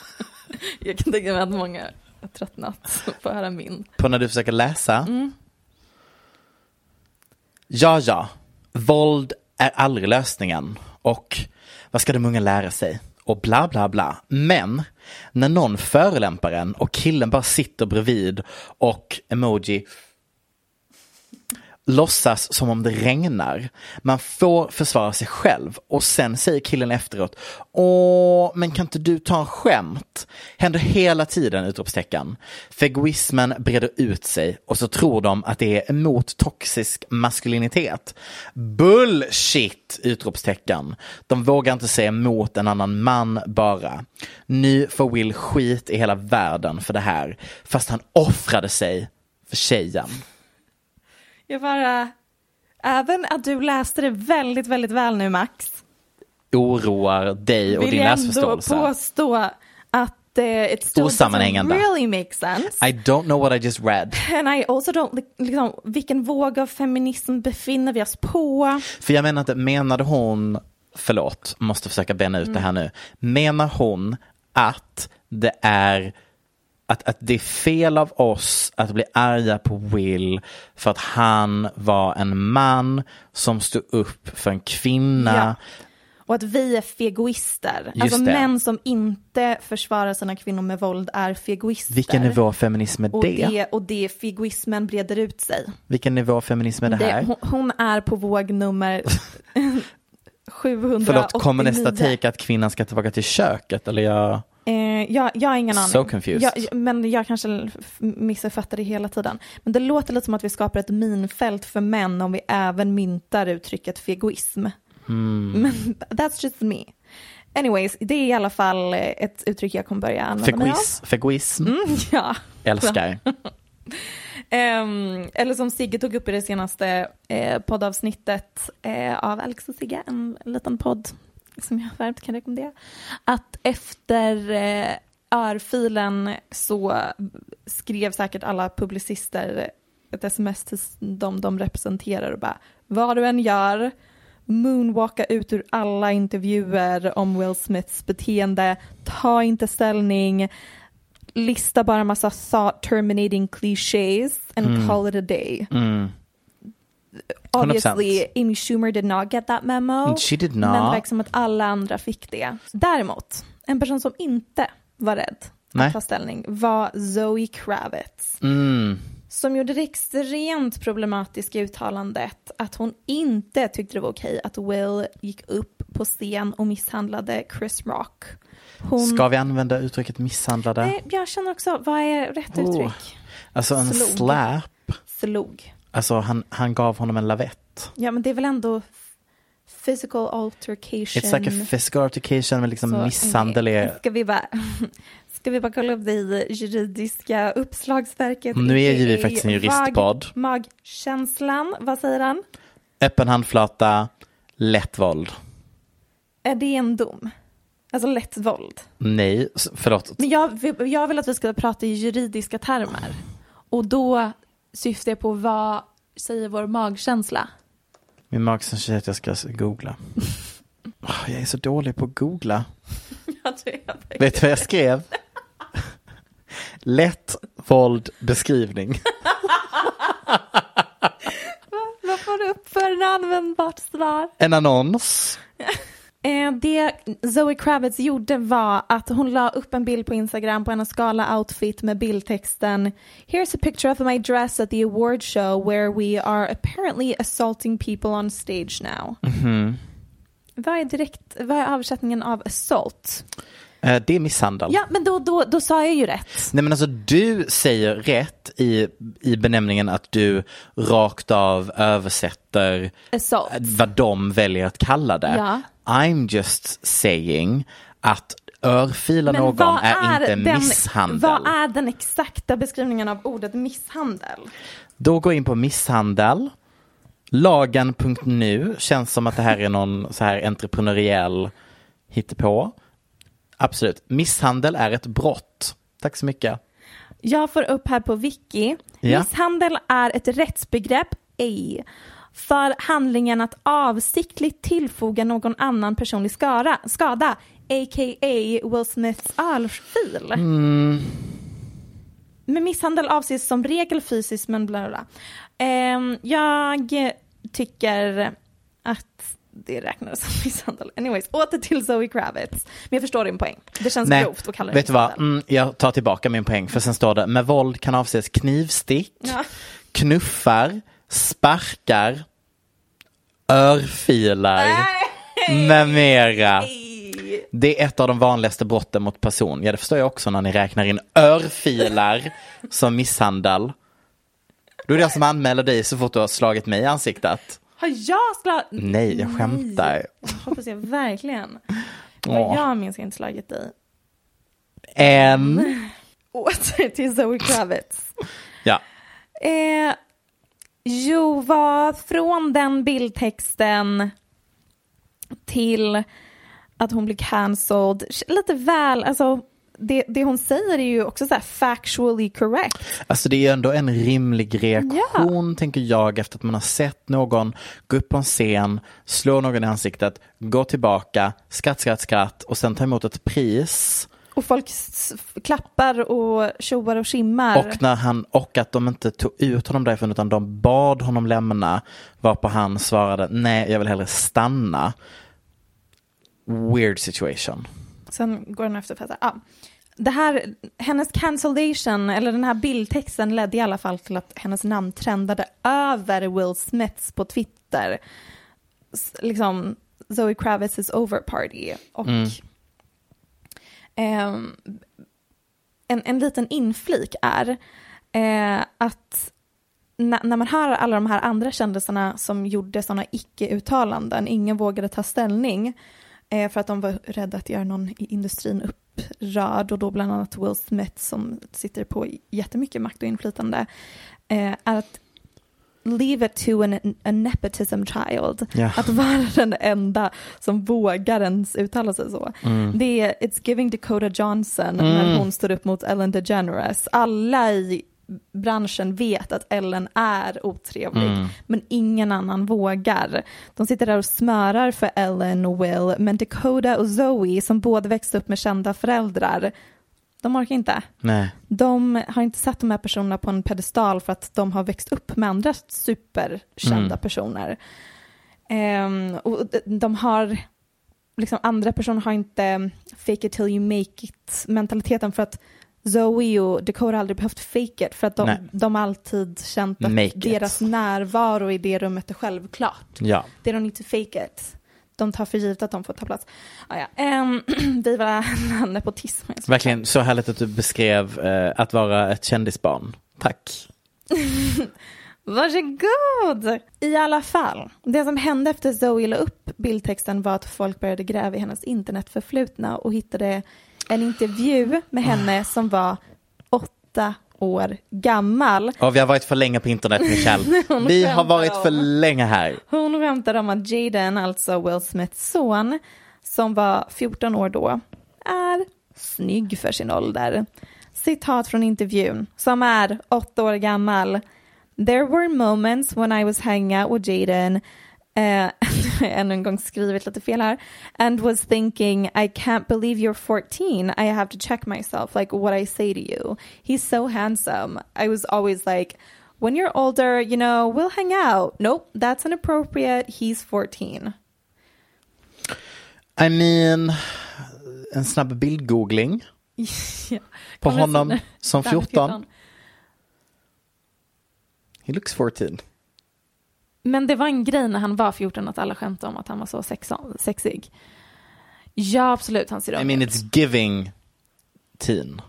jag kan tänka mig att många har tröttnat på att höra min. på när du försöker läsa. Ja, ja. Våld är aldrig lösningen. Och vad ska de unga lära sig? Och bla, bla, bla. Men när någon förolämpar en och killen bara sitter bredvid och emoji låtsas som om det regnar. Man får försvara sig själv och sen säger killen efteråt Åh, men kan inte du ta en skämt? Händer hela tiden! Utropstecken. För egoismen breder ut sig och så tror de att det är emot toxisk maskulinitet. Bullshit! Utropstecken. De vågar inte säga emot en annan man bara. Nu får Will skit i hela världen för det här. Fast han offrade sig för tjejen. Jag bara... Även att du läste det väldigt, väldigt väl nu Max. oroar dig och Vill din jag ändå läsförståelse. påstå att eh, it still doesn't Osammanhängande. really make sense. I don't know what I just read. And I also don't, liksom, vilken våg av feminism befinner vi oss på? För jag menar inte, menade hon, förlåt, måste försöka bena ut det här nu. Menar hon att det är att, att det är fel av oss att bli arga på Will för att han var en man som stod upp för en kvinna. Och att vi är fegoister. Just alltså det. män som inte försvarar sina kvinnor med våld är fegoister. Vilken nivå av feminism är och det? det? Och det fegoismen breder ut sig. Vilken nivå av feminism är det Det- här? hon, hon är på våg nummer 789. Förlåt, kommer nästa take att kvinnan ska tillbaka till köket? Eller jag... Eh, jag, jag har ingen aning. So confused. Jag, jag- men jag kanske f- missuppfattar det hela tiden. Men det låter lite som att vi skapar ett minfält för män om vi även myntar uttrycket fegoism. Hmm. Men that's just me. Anyways, det är i alla fall eh, ett uttryck jag kommer börja använda mig av. Mm, Fegoism, fegoism. Ja. älskar. Ehm, eller som Sigge tog upp i det senaste eh, poddavsnittet eh, av Alex och Sigge, en liten podd som jag varmt kan rekommendera. Att efter eh, örfilen så skrev säkert alla publicister ett sms till dem de representerar och bara vad du än gör moonwalka ut ur alla intervjuer om Will Smiths beteende, ta inte ställning, lista bara massa thought terminating clichés and call it a day. Obviously, Amy Schumer did not get that memo. Mm, She did Men det not. verkar som att alla andra fick det. Däremot, en person som inte var rädd Nej. att ta ställning var Zoe Kravitz. Som gjorde det extremt problematiska uttalandet att hon inte tyckte det var okej att Will gick upp på scen och misshandlade Chris Rock. Hon Ska vi använda uttrycket misshandlade? Nej, jag känner också, vad är rätt Oh. uttryck? alltså en slog. slap. Slog. Alltså han, han gav honom en lavett. Ja, men det är väl ändå f- physical altercation. It's like a physical altercation men liksom Så, misshandel nej. är... Ska vi bara... Ska vi bara kolla upp det i juridiska uppslagsverket? Mm, Nu är ju vi aka faktiskt en juristpodd. Mag, magkänslan, vad säger han? Öppen handflata, lätt våld. Är det en dom? Alltså lätt våld. Nej, s- förlåt. Men jag, jag vill att vi ska prata i juridiska termer. Och då syftar jag på vad säger vår magkänsla? Min magkänsla säger att jag ska s- googla. Ah, Jag är så dålig på att googla. Ja, det är verkligen- Vet du vad jag skrev? Lätt våld beskrivning. Vad får du upp för en användbart svar? En annons. Eh, det Zoe Kravitz gjorde var att hon la upp en bild på Instagram på hennes gala outfit med bildtexten Here's a picture of my dress at the award show where we are apparently assaulting people on stage now. Mhm. Vad är direkt, vad är översättningen av assault? Eh, Det är misshandel. Ja, men då, då, då sa jag ju rätt. Nej men alltså du säger rätt i, i benämningen att du rakt av översätter eh, Assault. vad de väljer att kalla det. Ja. I'm just saying att örfila Men någon vad är, inte den, misshandel. Vad är den exakta beskrivningen av ordet misshandel? Då gå in på misshandel. Lagen.nu känns som att det här är någon så här entreprenöriell hittepå. Absolut. Misshandel är ett brott. Tack så mycket. Jag får upp här på Wiki. Ja. Misshandel är ett rättsbegrepp, ej, för handlingen att avsiktligt tillfoga någon annan personlig skara, skada, a.k.a. Will Smiths örfil. Mm. Med misshandel avses som regel fysiskt men bla bla bla. Ehm, jag tycker att det räknas som misshandel. Anyways, åter till Zoe Kravitz. Men jag förstår din poäng. Det känns grovt att kalla det vet du vad? misshandel. Mm, jag Mm. tar tillbaka min poäng för sen står det med våld kan avses knivstick, knuffar, sparkar, örfilar med mera. Det är ett av de vanligaste brotten mot person. Ja, det förstår jag också när ni räknar in örfilar som misshandel. Då är det jag som anmäler dig så fort du har slagit mig i ansiktet. Har jag slagit? Nej, jag skämtar. Hoppas jag verkligen. Vad jag minns har jag inte slagit dig. En. Åter till Zoe Kravitz. Ja. Eh, jo, vad från den bildtexten till att hon blir cancelled, lite väl, alltså det, det hon säger är ju också så här factually correct. Alltså det är ju ändå en rimlig reaktion tänker jag efter att man har sett någon gå upp på en scen, slå någon i ansiktet, gå tillbaka, skratt, skratt, skratt och sen ta emot ett pris. Och folk s- klappar och tjoar och skimmar. Och, när han, och att de inte tog ut honom därifrån utan de bad honom lämna varpå han svarade nej jag vill hellre stanna. Weird situation. Sen går han efter festen. Ja. Det här, hennes cancellation, eller den här bildtexten ledde i alla fall till att hennes namn trendade över Will Smiths på Twitter. S- liksom Zoe Kravitz's over party. Och ehm, en, en liten inflik är eh, att na- när man hör alla de här andra kändisarna som gjorde sådana icke-uttalanden, ingen vågade ta ställning eh, för att de var rädda att göra någon i industrin upprörd och då bland annat Will Smith som sitter på jättemycket makt och inflytande, eh, är att leave it to an, a nepotism child. Ja. Att vara den enda som vågar ens uttala sig så. Det är It's giving Dakota Johnson när hon står upp mot Ellen DeGeneres. Alla i branschen vet att Ellen är otrevlig men ingen annan vågar. De sitter där och smörar för Ellen och Will men Dakota och Zoe som båda växte upp med kända föräldrar de orkar inte. Nej. De har inte satt de här personerna på en pedestal för att de har växt upp med andra superkända personer. Ehm, och de- de har, liksom andra personer har inte fake it till you make it mentaliteten för att Zoe och Dakota har aldrig behövt fake it för att de, Nej. de har alltid känt att Make it. deras närvaro i det rummet är självklart. Ja. They don't need to fake it. De tar för givet att de får ta plats. Ah, ja. Ehm, viva nepotism. Verkligen så härligt att du beskrev eh, att vara ett kändisbarn. Tack. Varsågod! I alla fall, det som hände efter Zoe la upp bildtexten var att folk började gräva i hennes internetförflutna och hittade en intervju med Ah. henne som var åtta år gammal. Och vi har varit för länge på internet Michelle. Vi har varit för länge här. Hon skämtade om att Jaden, alltså Will Smiths son, som var 14 år då, är snygg för sin ålder. Citat från intervjun, som är åtta år gammal. There were moments when I was hanging out with Jaden eh, ännu en gång skrivit lite fel här. And was thinking I can't believe you're 14. I have to check myself like what I say to you. He's so handsome. I was always like when you're older, you know, we'll hang out. Nope, that's inappropriate. He's 14. I mean, en snabb bildgoogling på Kommer det honom sen- som Där är 14. He looks 14. Men det var en grej när han var 14 att alla skämtade om att han var så sexon, sexig. Ja, absolut, han ser I ung mean ut. it's giving teen.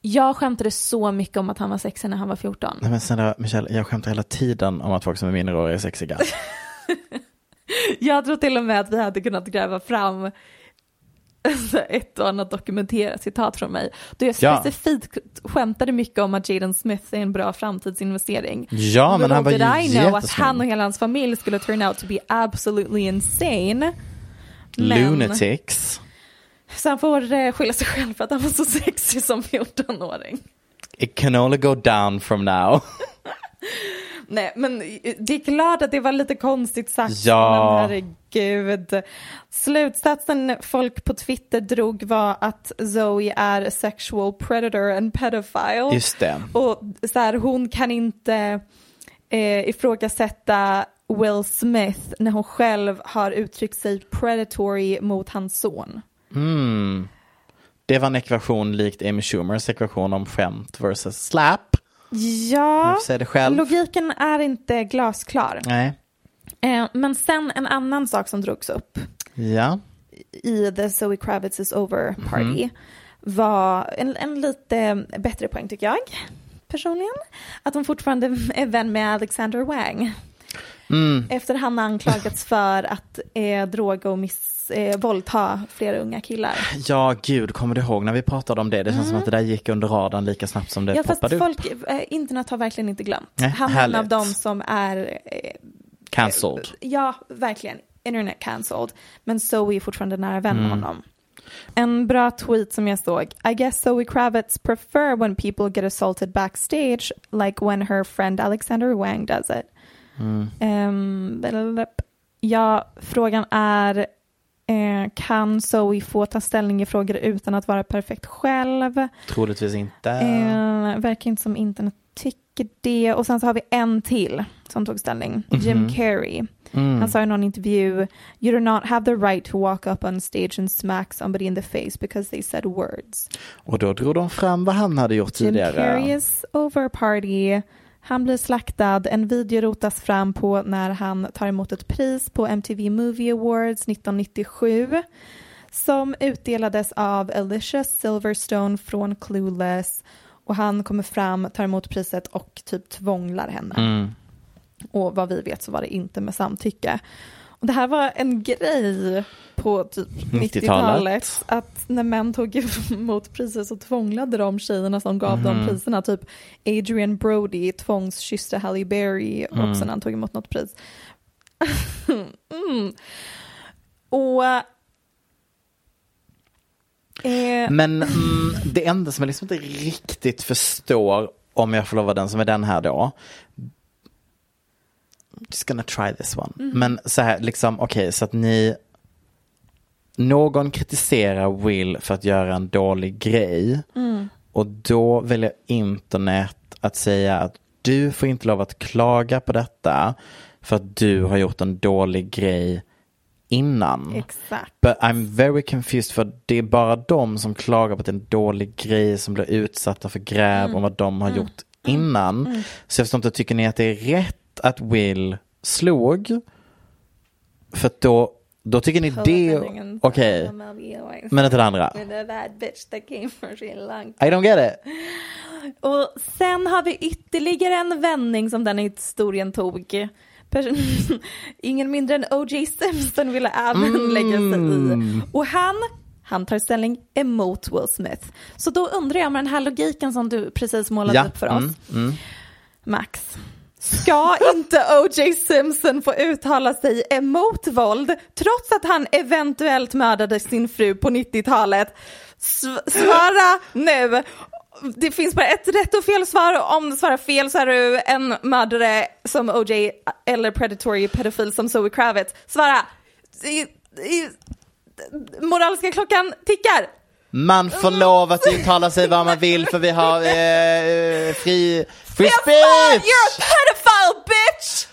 Jag skämtade så mycket om att han var sexig när han var 14. Nej men snälla Michelle, jag skämtar hela tiden om att folk som är minderåriga är sexiga. Jag tror till och med att vi hade kunnat gräva fram ett och annat dokumenterat citat från mig. Då jag Ja. specifikt skämtade mycket om att Jaden Smith är en bra framtidsinvestering. Ja, men Little han var did ju I know att jättesnygg. han och hela hans familj skulle turn out to be absolutely insane. Lunatics. Så han får eh, skylla sig själv för att han var så sexig som 14-åring. It can only go down from now. Nej, men det är klart att det var lite konstigt sagt. Ja. Men herregud. Slutsatsen folk på Twitter drog var att Zoe är sexual predator and pedophile. Just det. Och så här, hon kan inte eh, ifrågasätta Will Smith när hon själv har uttryckt sig predatory mot hans son. Det var en ekvation likt Amy Schumers ekvation om skämt versus slap. Ja, Jag får säga det själv. logiken är inte glasklar. Nej. Eh, men sen en annan sak som drogs upp Ja. i The Zoe Kravitz is over Mhm. party var en, en lite bättre poäng tycker jag personligen. Att hon fortfarande är vän med Alexander Wang. Mm. Efter han har anklagats för att eh, droga och miss, eh, våldta flera unga killar. Ja, gud, kommer du ihåg när vi pratade om det? Det känns som att det där gick under radarn lika snabbt som det Mm. Ja fast poppade upp. folk, eh, internet har verkligen inte glömt. Nej, han är en härligt. av dem som är, eh, Cancelled. ja verkligen, internet cancelled. Men Zoe är fortfarande nära vän med honom. En bra tweet som jag såg. I guess Zoe Kravitz prefer when people get assaulted backstage like when her friend Alexander Wang does it. Ehm, blablabla. ja, frågan är eh, kan Zoe få ta ställning i frågor utan att vara perfekt själv? Troligtvis inte. Eh, verkar inte som internet tycker det. Och sen så har vi en till som tog ställning. Jim Carrey. Han sa i någon intervju, You do not have the right to walk up on stage and smack somebody in the face because they said words. Och då drog de fram vad han hade gjort Jim tidigare. Carreys over party. Han blir slaktad. En video rotas fram på när han tar emot ett pris på MTV Movie Awards 1997 som utdelades av Alicia Silverstone från Clueless och han kommer fram, tar emot priset och typ tvånglar henne. Och vad vi vet så var det inte med samtycke. Och det här var en grej på typ 90-talet 90-talet. att när män tog emot priser så tvånglade de tjejerna som gav dem priserna. Typ Adrian Brody tvångskysste Halle Berry och sen han tog emot något pris. mm. Och... Eh, Men mm, det enda som jag liksom inte riktigt förstår, om jag får lov att vara den som är den här då. Just gonna try this one. Men så här, liksom, okej, så att ni... Någon kritiserar Will för att göra en dålig grej. Och då väljer internet att säga att du får inte lov att klaga på detta för att du har gjort en dålig grej innan. Exakt. But I'm very confused för det är bara de som klagar på att det är en dålig grej som blir utsatta för gräv om vad de har gjort innan. Så jag förstår inte, tycker ni att det är rätt att Will slog? För att då, då tycker ni det, okej, men inte det andra. With a bad bitch that came from Sri Lanka. I don't get it. Och sen har vi ytterligare en vändning som den historien tog. Pers- Ingen mindre än O.J. Simpson ville även Mm. lägga sig i. Och han, han tar ställning emot Will Smith. Så då undrar jag med den här logiken som du precis målade Ja, upp för mm, oss. Max, ska inte O.J. Simpson få uttala sig emot våld trots att han eventuellt mördade sin fru på 90-talet? Sv- svara nu! Det finns bara ett rätt och fel svar och om du svarar fel så är du en mördare som O.J. eller predatory pedofil som Zoe Kravitz. Svara! I, i, moraliska klockan tickar! Man får lov att uttala sig vad man vill för vi har eh, fri, fri speech! You're a pedophile bitch!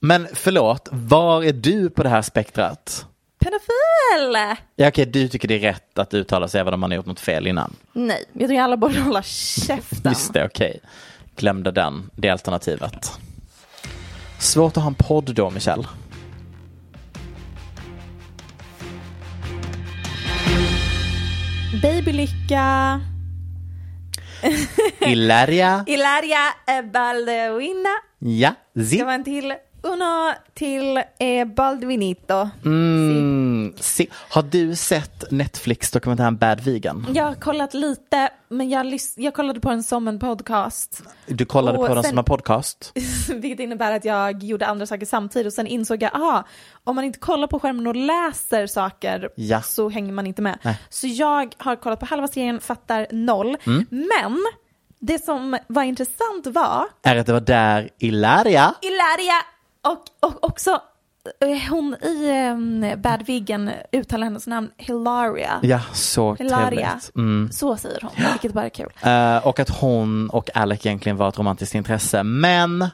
Men förlåt, var är du på det här spektrat? Pedofil! Ja, okej, du tycker det är rätt att uttala sig även om man har gjort något fel innan. Nej, jag tycker alla borde hålla käften. Just det, okej. Glömde den, det alternativet. Svårt att ha en podd då, Michelle. Babylycka. Ilaria, Ilaria Baldwina. ja, Det si, var en till. Uno till eh, Baldwinito. mm, si. Har du sett Netflix-dokumentären Bad Vegan? Jag har kollat lite, men jag, lys- jag kollade på den som en podcast. Du kollade Och på den sen- som en podcast? Vilket innebär att jag gjorde andra saker samtidigt och sen insåg jag, aha, om man inte kollar på skärmen och läser saker Ja. så hänger man inte med. Nej. Så jag har kollat på halva serien, fattar noll. Mm. Men det som var intressant var Är att det var där Ilaria, Ilaria och, och också eh, hon i eh, Bad Vegan uttalar hennes namn Hilaria. ja, så Hilaria. trevligt. Mm. Så säger hon, vilket bara är kul. Eh, och att hon och Alec egentligen var ett romantiskt intresse, men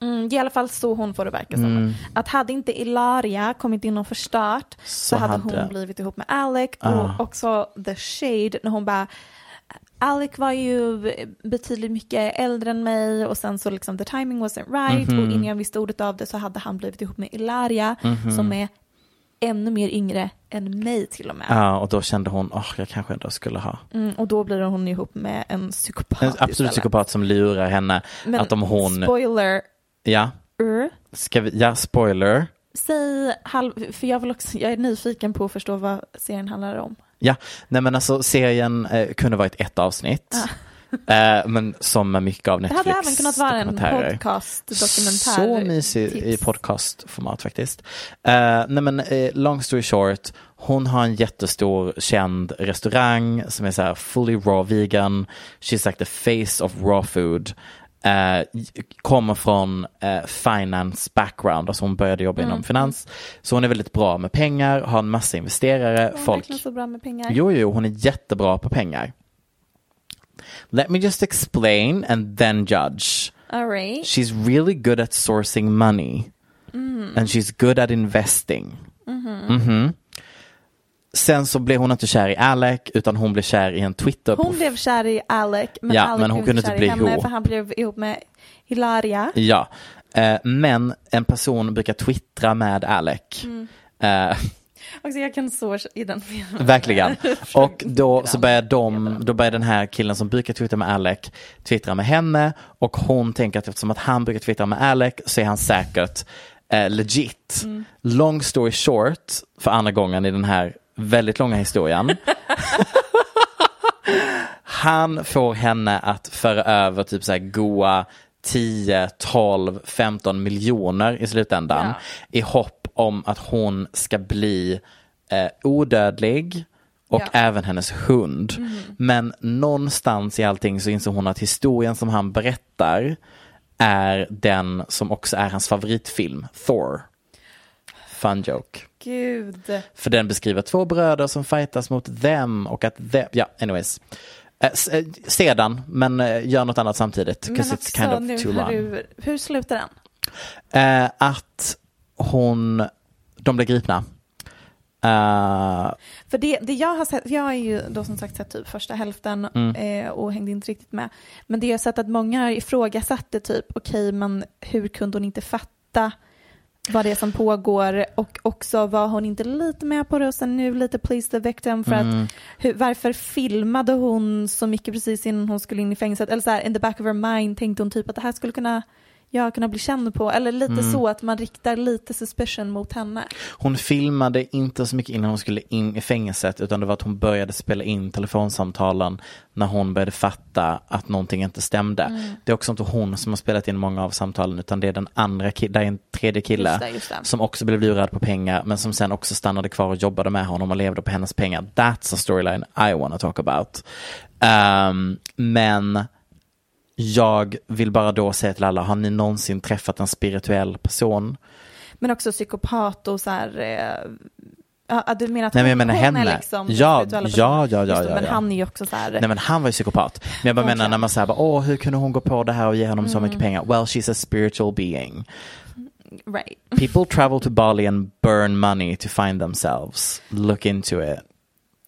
Mm, I alla fall så hon får det verka som. Mm. Att hade inte Ilaria kommit in och förstört så, Så hade hade- Ah. hon blivit ihop med Alec. Och också the shade när hon bara Alec var ju betydligt mycket äldre än mig och sen så liksom the timing wasn't right Mhm. och innan jag visste ordet av det så hade han blivit ihop med Ilaria som är ännu mer yngre än mig till och med. Ja, och då kände hon, åh, jag kanske ändå skulle ha. Mm, och då blir hon ihop med en psykopat En absolut istället. psykopat som lurar henne Men att om hon, spoiler, ja, er, ska vi, ja, spoiler. säg halv, för jag, vill också, jag är nyfiken på att förstå vad serien handlar om. Ja, nej men alltså serien eh, kunde varit ett avsnitt. Eh, men som med mycket av Det Netflix hade även kunnat vara en dokumentärer. podcast-dokumentär. Så mysig i tips. podcastformat faktiskt. Eh, nej men eh, long story short, hon har en jättestor känd restaurang som är så här fully raw vegan. She's like the face of raw food. Eh, kommer från eh, finance background, alltså hon började jobba Mm, inom finans. Så hon är väldigt bra med pengar, har en massa investerare, Hon är folk. verkligen så bra med pengar. Jo, jo, hon är jättebra på pengar. Let me just explain and then judge. All right. She's really good at sourcing money. And she's good at investing. Mhm. Sen så blev hon inte kär i Alec utan hon blev kär i en Twitter. Hon blev kär i Alec, men Ja, Alec men hon blev kunde kär inte bli i henne ihop. för han blev ihop med Hilaria. Ja. Eh, men en person brukar twittra med Alec. Eh, Alltså jag kan så identifiera mig. Verkligen. Och då så börjar, de, då börjar den här killen som brukar twittra med Alec twittra med henne och hon tänker att eftersom att han brukar twittra med Alec så är han säkert eh, legit. Long story short, för andra gången i den här väldigt långa historien. han får henne att föra över typ så här goa 10, 12, 15 miljoner i slutändan i hopp om att hon ska bli eh, odödlig och Ja. även hennes hund. Men någonstans i allting så insåg hon att historien som han berättar är den som också är hans favoritfilm, Thor. Fun joke. Gud. För den beskriver två bröder som fightas mot dem och att them, ja anyways. Eh, s- eh, Sedan, men eh, gör något annat samtidigt. Men alltså, 'cause it's kind nu of too har long. du, hur slutar den? Eh, att hon, de blir gripna. Eh, För det, det jag har sett, jag har ju då som sagt sett typ första hälften eh, och hängde inte riktigt med. Men det jag har sett att många har ifrågasatt det typ, okej men hur kunde hon inte fatta vad det är som pågår och också var hon inte lite med på det och sen nu lite please the victim för att hur, varför filmade hon så mycket precis innan hon skulle in i fängelset eller så här in the back of her mind tänkte hon typ att det här skulle kunna jag kunna bli känd på eller lite så att man riktar lite suspicion mot henne. Hon filmade inte så mycket innan hon skulle in i fängelset utan det var att hon började spela in telefonsamtalen när hon började fatta att någonting inte stämde. Mm. Det är också inte hon som har spelat in många av samtalen utan det är den andra killen, det är en tredje kille Just det, just det. som också blev lurad på pengar men som sen också stannade kvar och jobbade med honom och levde på hennes pengar. That's a storyline I wanna talk about. Ehm, men jag vill bara då säga till alla, har ni någonsin träffat en spirituell person? Men också psykopat och så här... Eh, ja, ja, du menar att Nej, men jag hon- menar hon henne. är liksom den Ja, spirituella ja, personen. ja, ja, Just det, ja, Men ja. han är ju också så här... Nej men han var ju psykopat. Men jag bara menar när man säger bara, åh hur kunde hon gå på det här och ge honom Mm. så mycket pengar? Well she's a spiritual being. Right. People travel to Bali and burn money to find themselves. Look into it.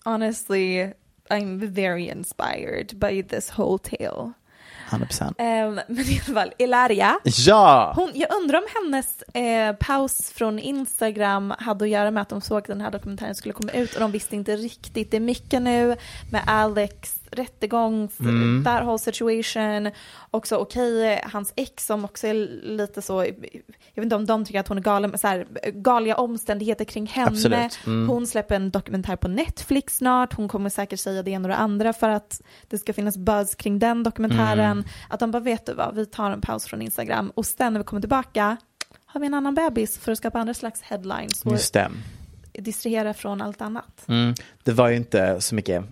Honestly, I'm very inspired by this whole tale. 100%. Ehm, men i alla fall, Ilaria. Ja! Hon, jag undrar om hennes eh, paus från Instagram hade att göra med att de såg att den här dokumentären skulle komma ut och de visste inte riktigt. Det är mycket nu med Alex rättegång, mm. that whole situation. Också okej, eh, hans ex som också är lite så, jag vet inte om de tycker att hon är galen, men så här, eh, galiga omständigheter kring henne. Absolut, mm. Hon släpper en dokumentär på Netflix snart, hon kommer säkert säga det ena och det andra för att det ska finnas buzz kring den dokumentären. Mm. Att de bara, vet du vad, vi tar en paus från Instagram och sen när vi kommer tillbaka har vi en annan bebis för att skapa andra slags headlines och Just det. distrahera från allt annat. Mm. Det var ju inte så mycket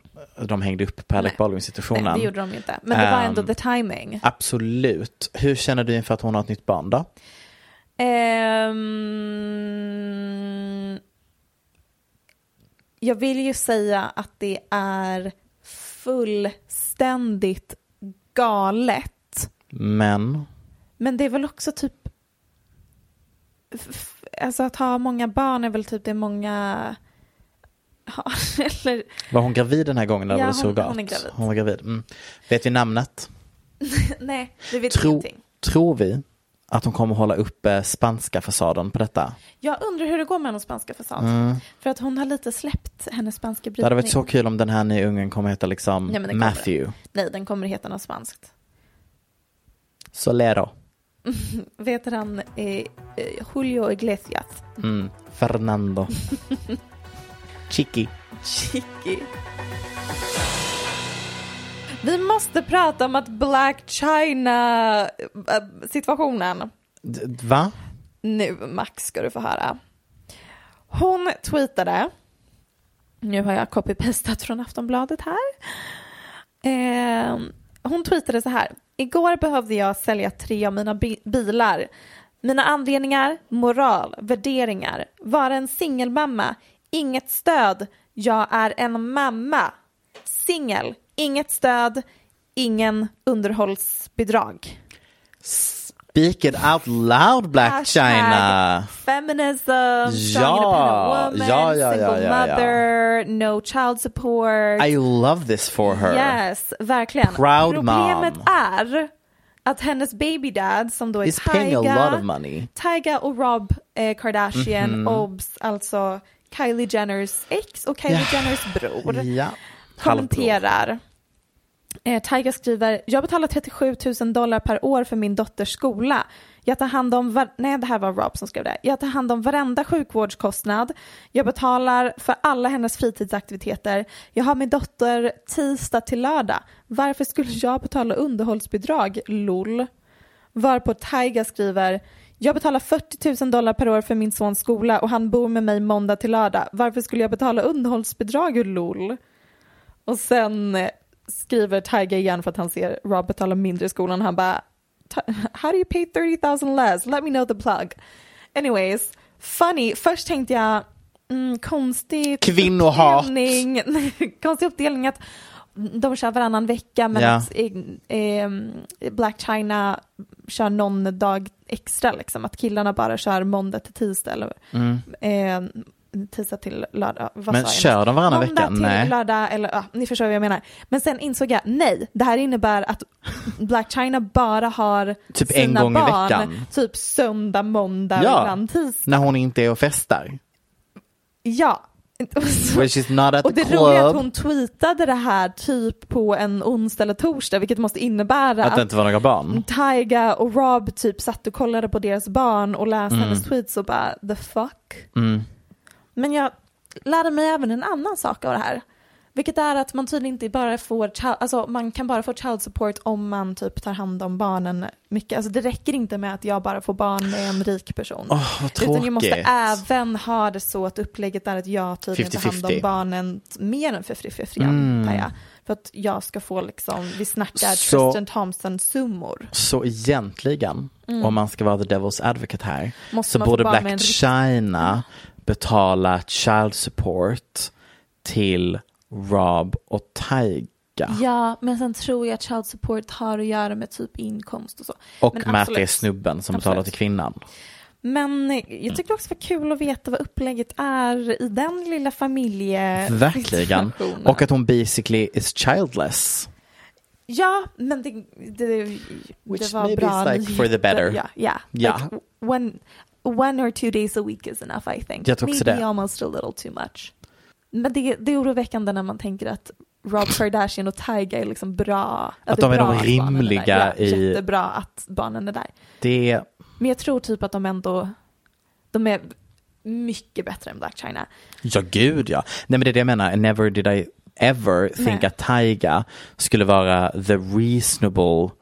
de hängde upp på Alec Nej. Baldwin-situationen. Nej, det gjorde de ju inte. Men det var ändå Ehm. the timing. Absolut. Hur känner du inför att hon har ett nytt barn då? Ehm, jag vill ju säga att det är fullständigt galet. Men, Men det är väl också typ... f- Alltså att ha många barn är väl typ det många har, eller Var hon gravid den här gången eller Ja, var det hon- surrogat? hon är gravid. Hon var gravid. Mm. Vet vi namnet? nej, vi vet Tro, ingenting. tror vi att hon kommer hålla uppe spanska fasaden på detta? Jag undrar hur det går med hennes spanska fasad. För att hon har lite släppt hennes spanska brytning. Det hade varit så kul om den här nya ungen kommer heta liksom Nej, men det kommer. Matthew Nej, den kommer heta något spanskt. Solero Vad heter han? Eh, eh, Julio Iglesias. mm. Fernando Chiqui. Chiqui. Vi måste prata om att Black China eh, situationen. D- va? Nu Max ska du få höra. Hon tweetade, nu har jag copy-pastat från Aftonbladet här. Eh, hon tweetade så här, igår behövde jag sälja tre av mina bi- bilar. Mina anledningar, moral, värderingar, vara en singelmamma, inget stöd, jag är en mamma. Singel, inget stöd, ingen underhållsbidrag. Speak it out loud Black Hashtag China. Feminism, strong Ja, independent woman, ja, ja, single ja, ja, ja. mother, no child support. I love this for her. Yes, verkligen. Proud Problemet mom. är att hennes baby dad som då är He's paying a lot of Tyga, money. Mhm. Tyga och Rob eh, Kardashian, obs, alltså Kylie Jenners ex och Kylie Ja. Jenners bror Ja. Halvbror. kommenterar. Eh, Tiger skriver, jag betalar 37 000 dollar per år för min dotters skola. Jag tar hand om, var- nej det här var Rob som skrev det. Jag tar hand om varenda sjukvårdskostnad. Jag betalar för alla hennes fritidsaktiviteter. Jag har min dotter tisdag till lördag. Varför skulle jag betala underhållsbidrag, LOL? Varpå Taiga skriver jag betalar 40 000 dollar per år för min sons skola och han bor med mig måndag till lördag. Varför skulle jag betala underhållsbidrag, LOL? Och sen eh, skriver Tiger igen för att han ser Rob betala mindre i skolan. Han bara, "Ti- how do you pay 30 000 less? Let me know the plug. Anyways, funny. Först tänkte jag, mm, konstig Kvinnohat. uppdelning. konstig uppdelning att de kör varannan vecka men Ja. att eh, eh, Black China kör någon dag extra liksom. Att killarna bara kör måndag till tisdag eller eh, tisdag till lördag. Vad Mm. sa Men jag nu? kör de varannan Måndag vecka? till Nej. lördag eller ja, ni förstår vad jag menar. Men sen insåg jag, nej, det här innebär att Black China bara har Typ en sina gång i barn, veckan. typ söndag, måndag, Ja. ibland tisdag. När hon inte är och festar. Ja. Och så- When she's not at och the det club. roliga är att hon tweetade det här typ på en onsdag eller torsdag vilket måste innebära Att att, det inte Mm. var några barn. Tyga och Rob typ satt och kollade på deras barn och läste Mm. hennes tweets och bara the fuck. Men jag lärde mig även en annan sak av det här. Vilket är att man tydligen inte bara får, child, alltså man kan bara få child support om man typ tar hand om barnen mycket. Alltså det räcker inte med att jag bara får barn med en rik person. Åh, vad Utan jag måste tråkigt. även ha det så att upplägget är att jag tydligen tar hand om 50-50. barnen mer än för fri för fri, Mm. antar jag. För att jag ska få liksom, vi snackar Så- Tristan Thompson-summor. Så egentligen, om man ska vara the devil's advocate här, Mm. Måste så man få borde barn med en Mm. Black rikt- China betala child support till Rob och Tyga. Ja, men sen tror jag att child support har att göra med typ inkomst och så. Och men Matt absolut. är snubben som betalar Absolut. till kvinnan. Men jag tycker också det var kul att veta vad upplägget är i den lilla familje... Verkligen. situationen. Och att hon basically is childless. Ja, men det, det, det Which var maybe bra. is like for the better. Ja, ja. Ja. Like when, one or two days a week is enough I think. Jag tror också maybe det. almost a little too much. Men det, det är oroväckande när man tänker att Rob Kardashian och Tyga är liksom bra. Att det de är bra de att barnen där. rimliga ja, i- Jättebra att barnen är där. Det Men jag tror typ att de ändå, de är mycket bättre än Black China. Ja, gud ja. Nej, men det är det jag menar. Never did I ever think Nej. att Taiga skulle vara the reasonable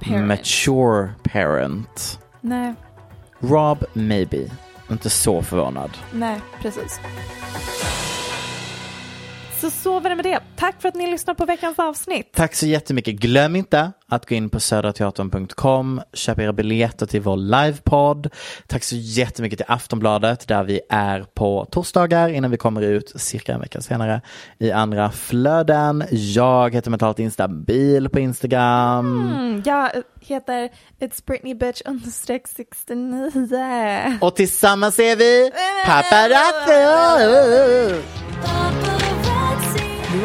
Parent. mature parent. Nej, Rob, maybe. Inte så förvånad. nej, precis. Så så var det med det. Tack för att ni lyssnar på veckans avsnitt. Tack så jättemycket. Glöm inte att gå in på södrateatern.com, köpa era biljetter till vår livepodd. Tack så jättemycket till Aftonbladet där vi är på torsdagar innan vi kommer ut cirka en vecka senare i andra flöden. Jag heter mentalt instabil på Instagram. Mm, jag heter It's Britney Bitch understreck 69. Och tillsammans är vi paparazzi! Du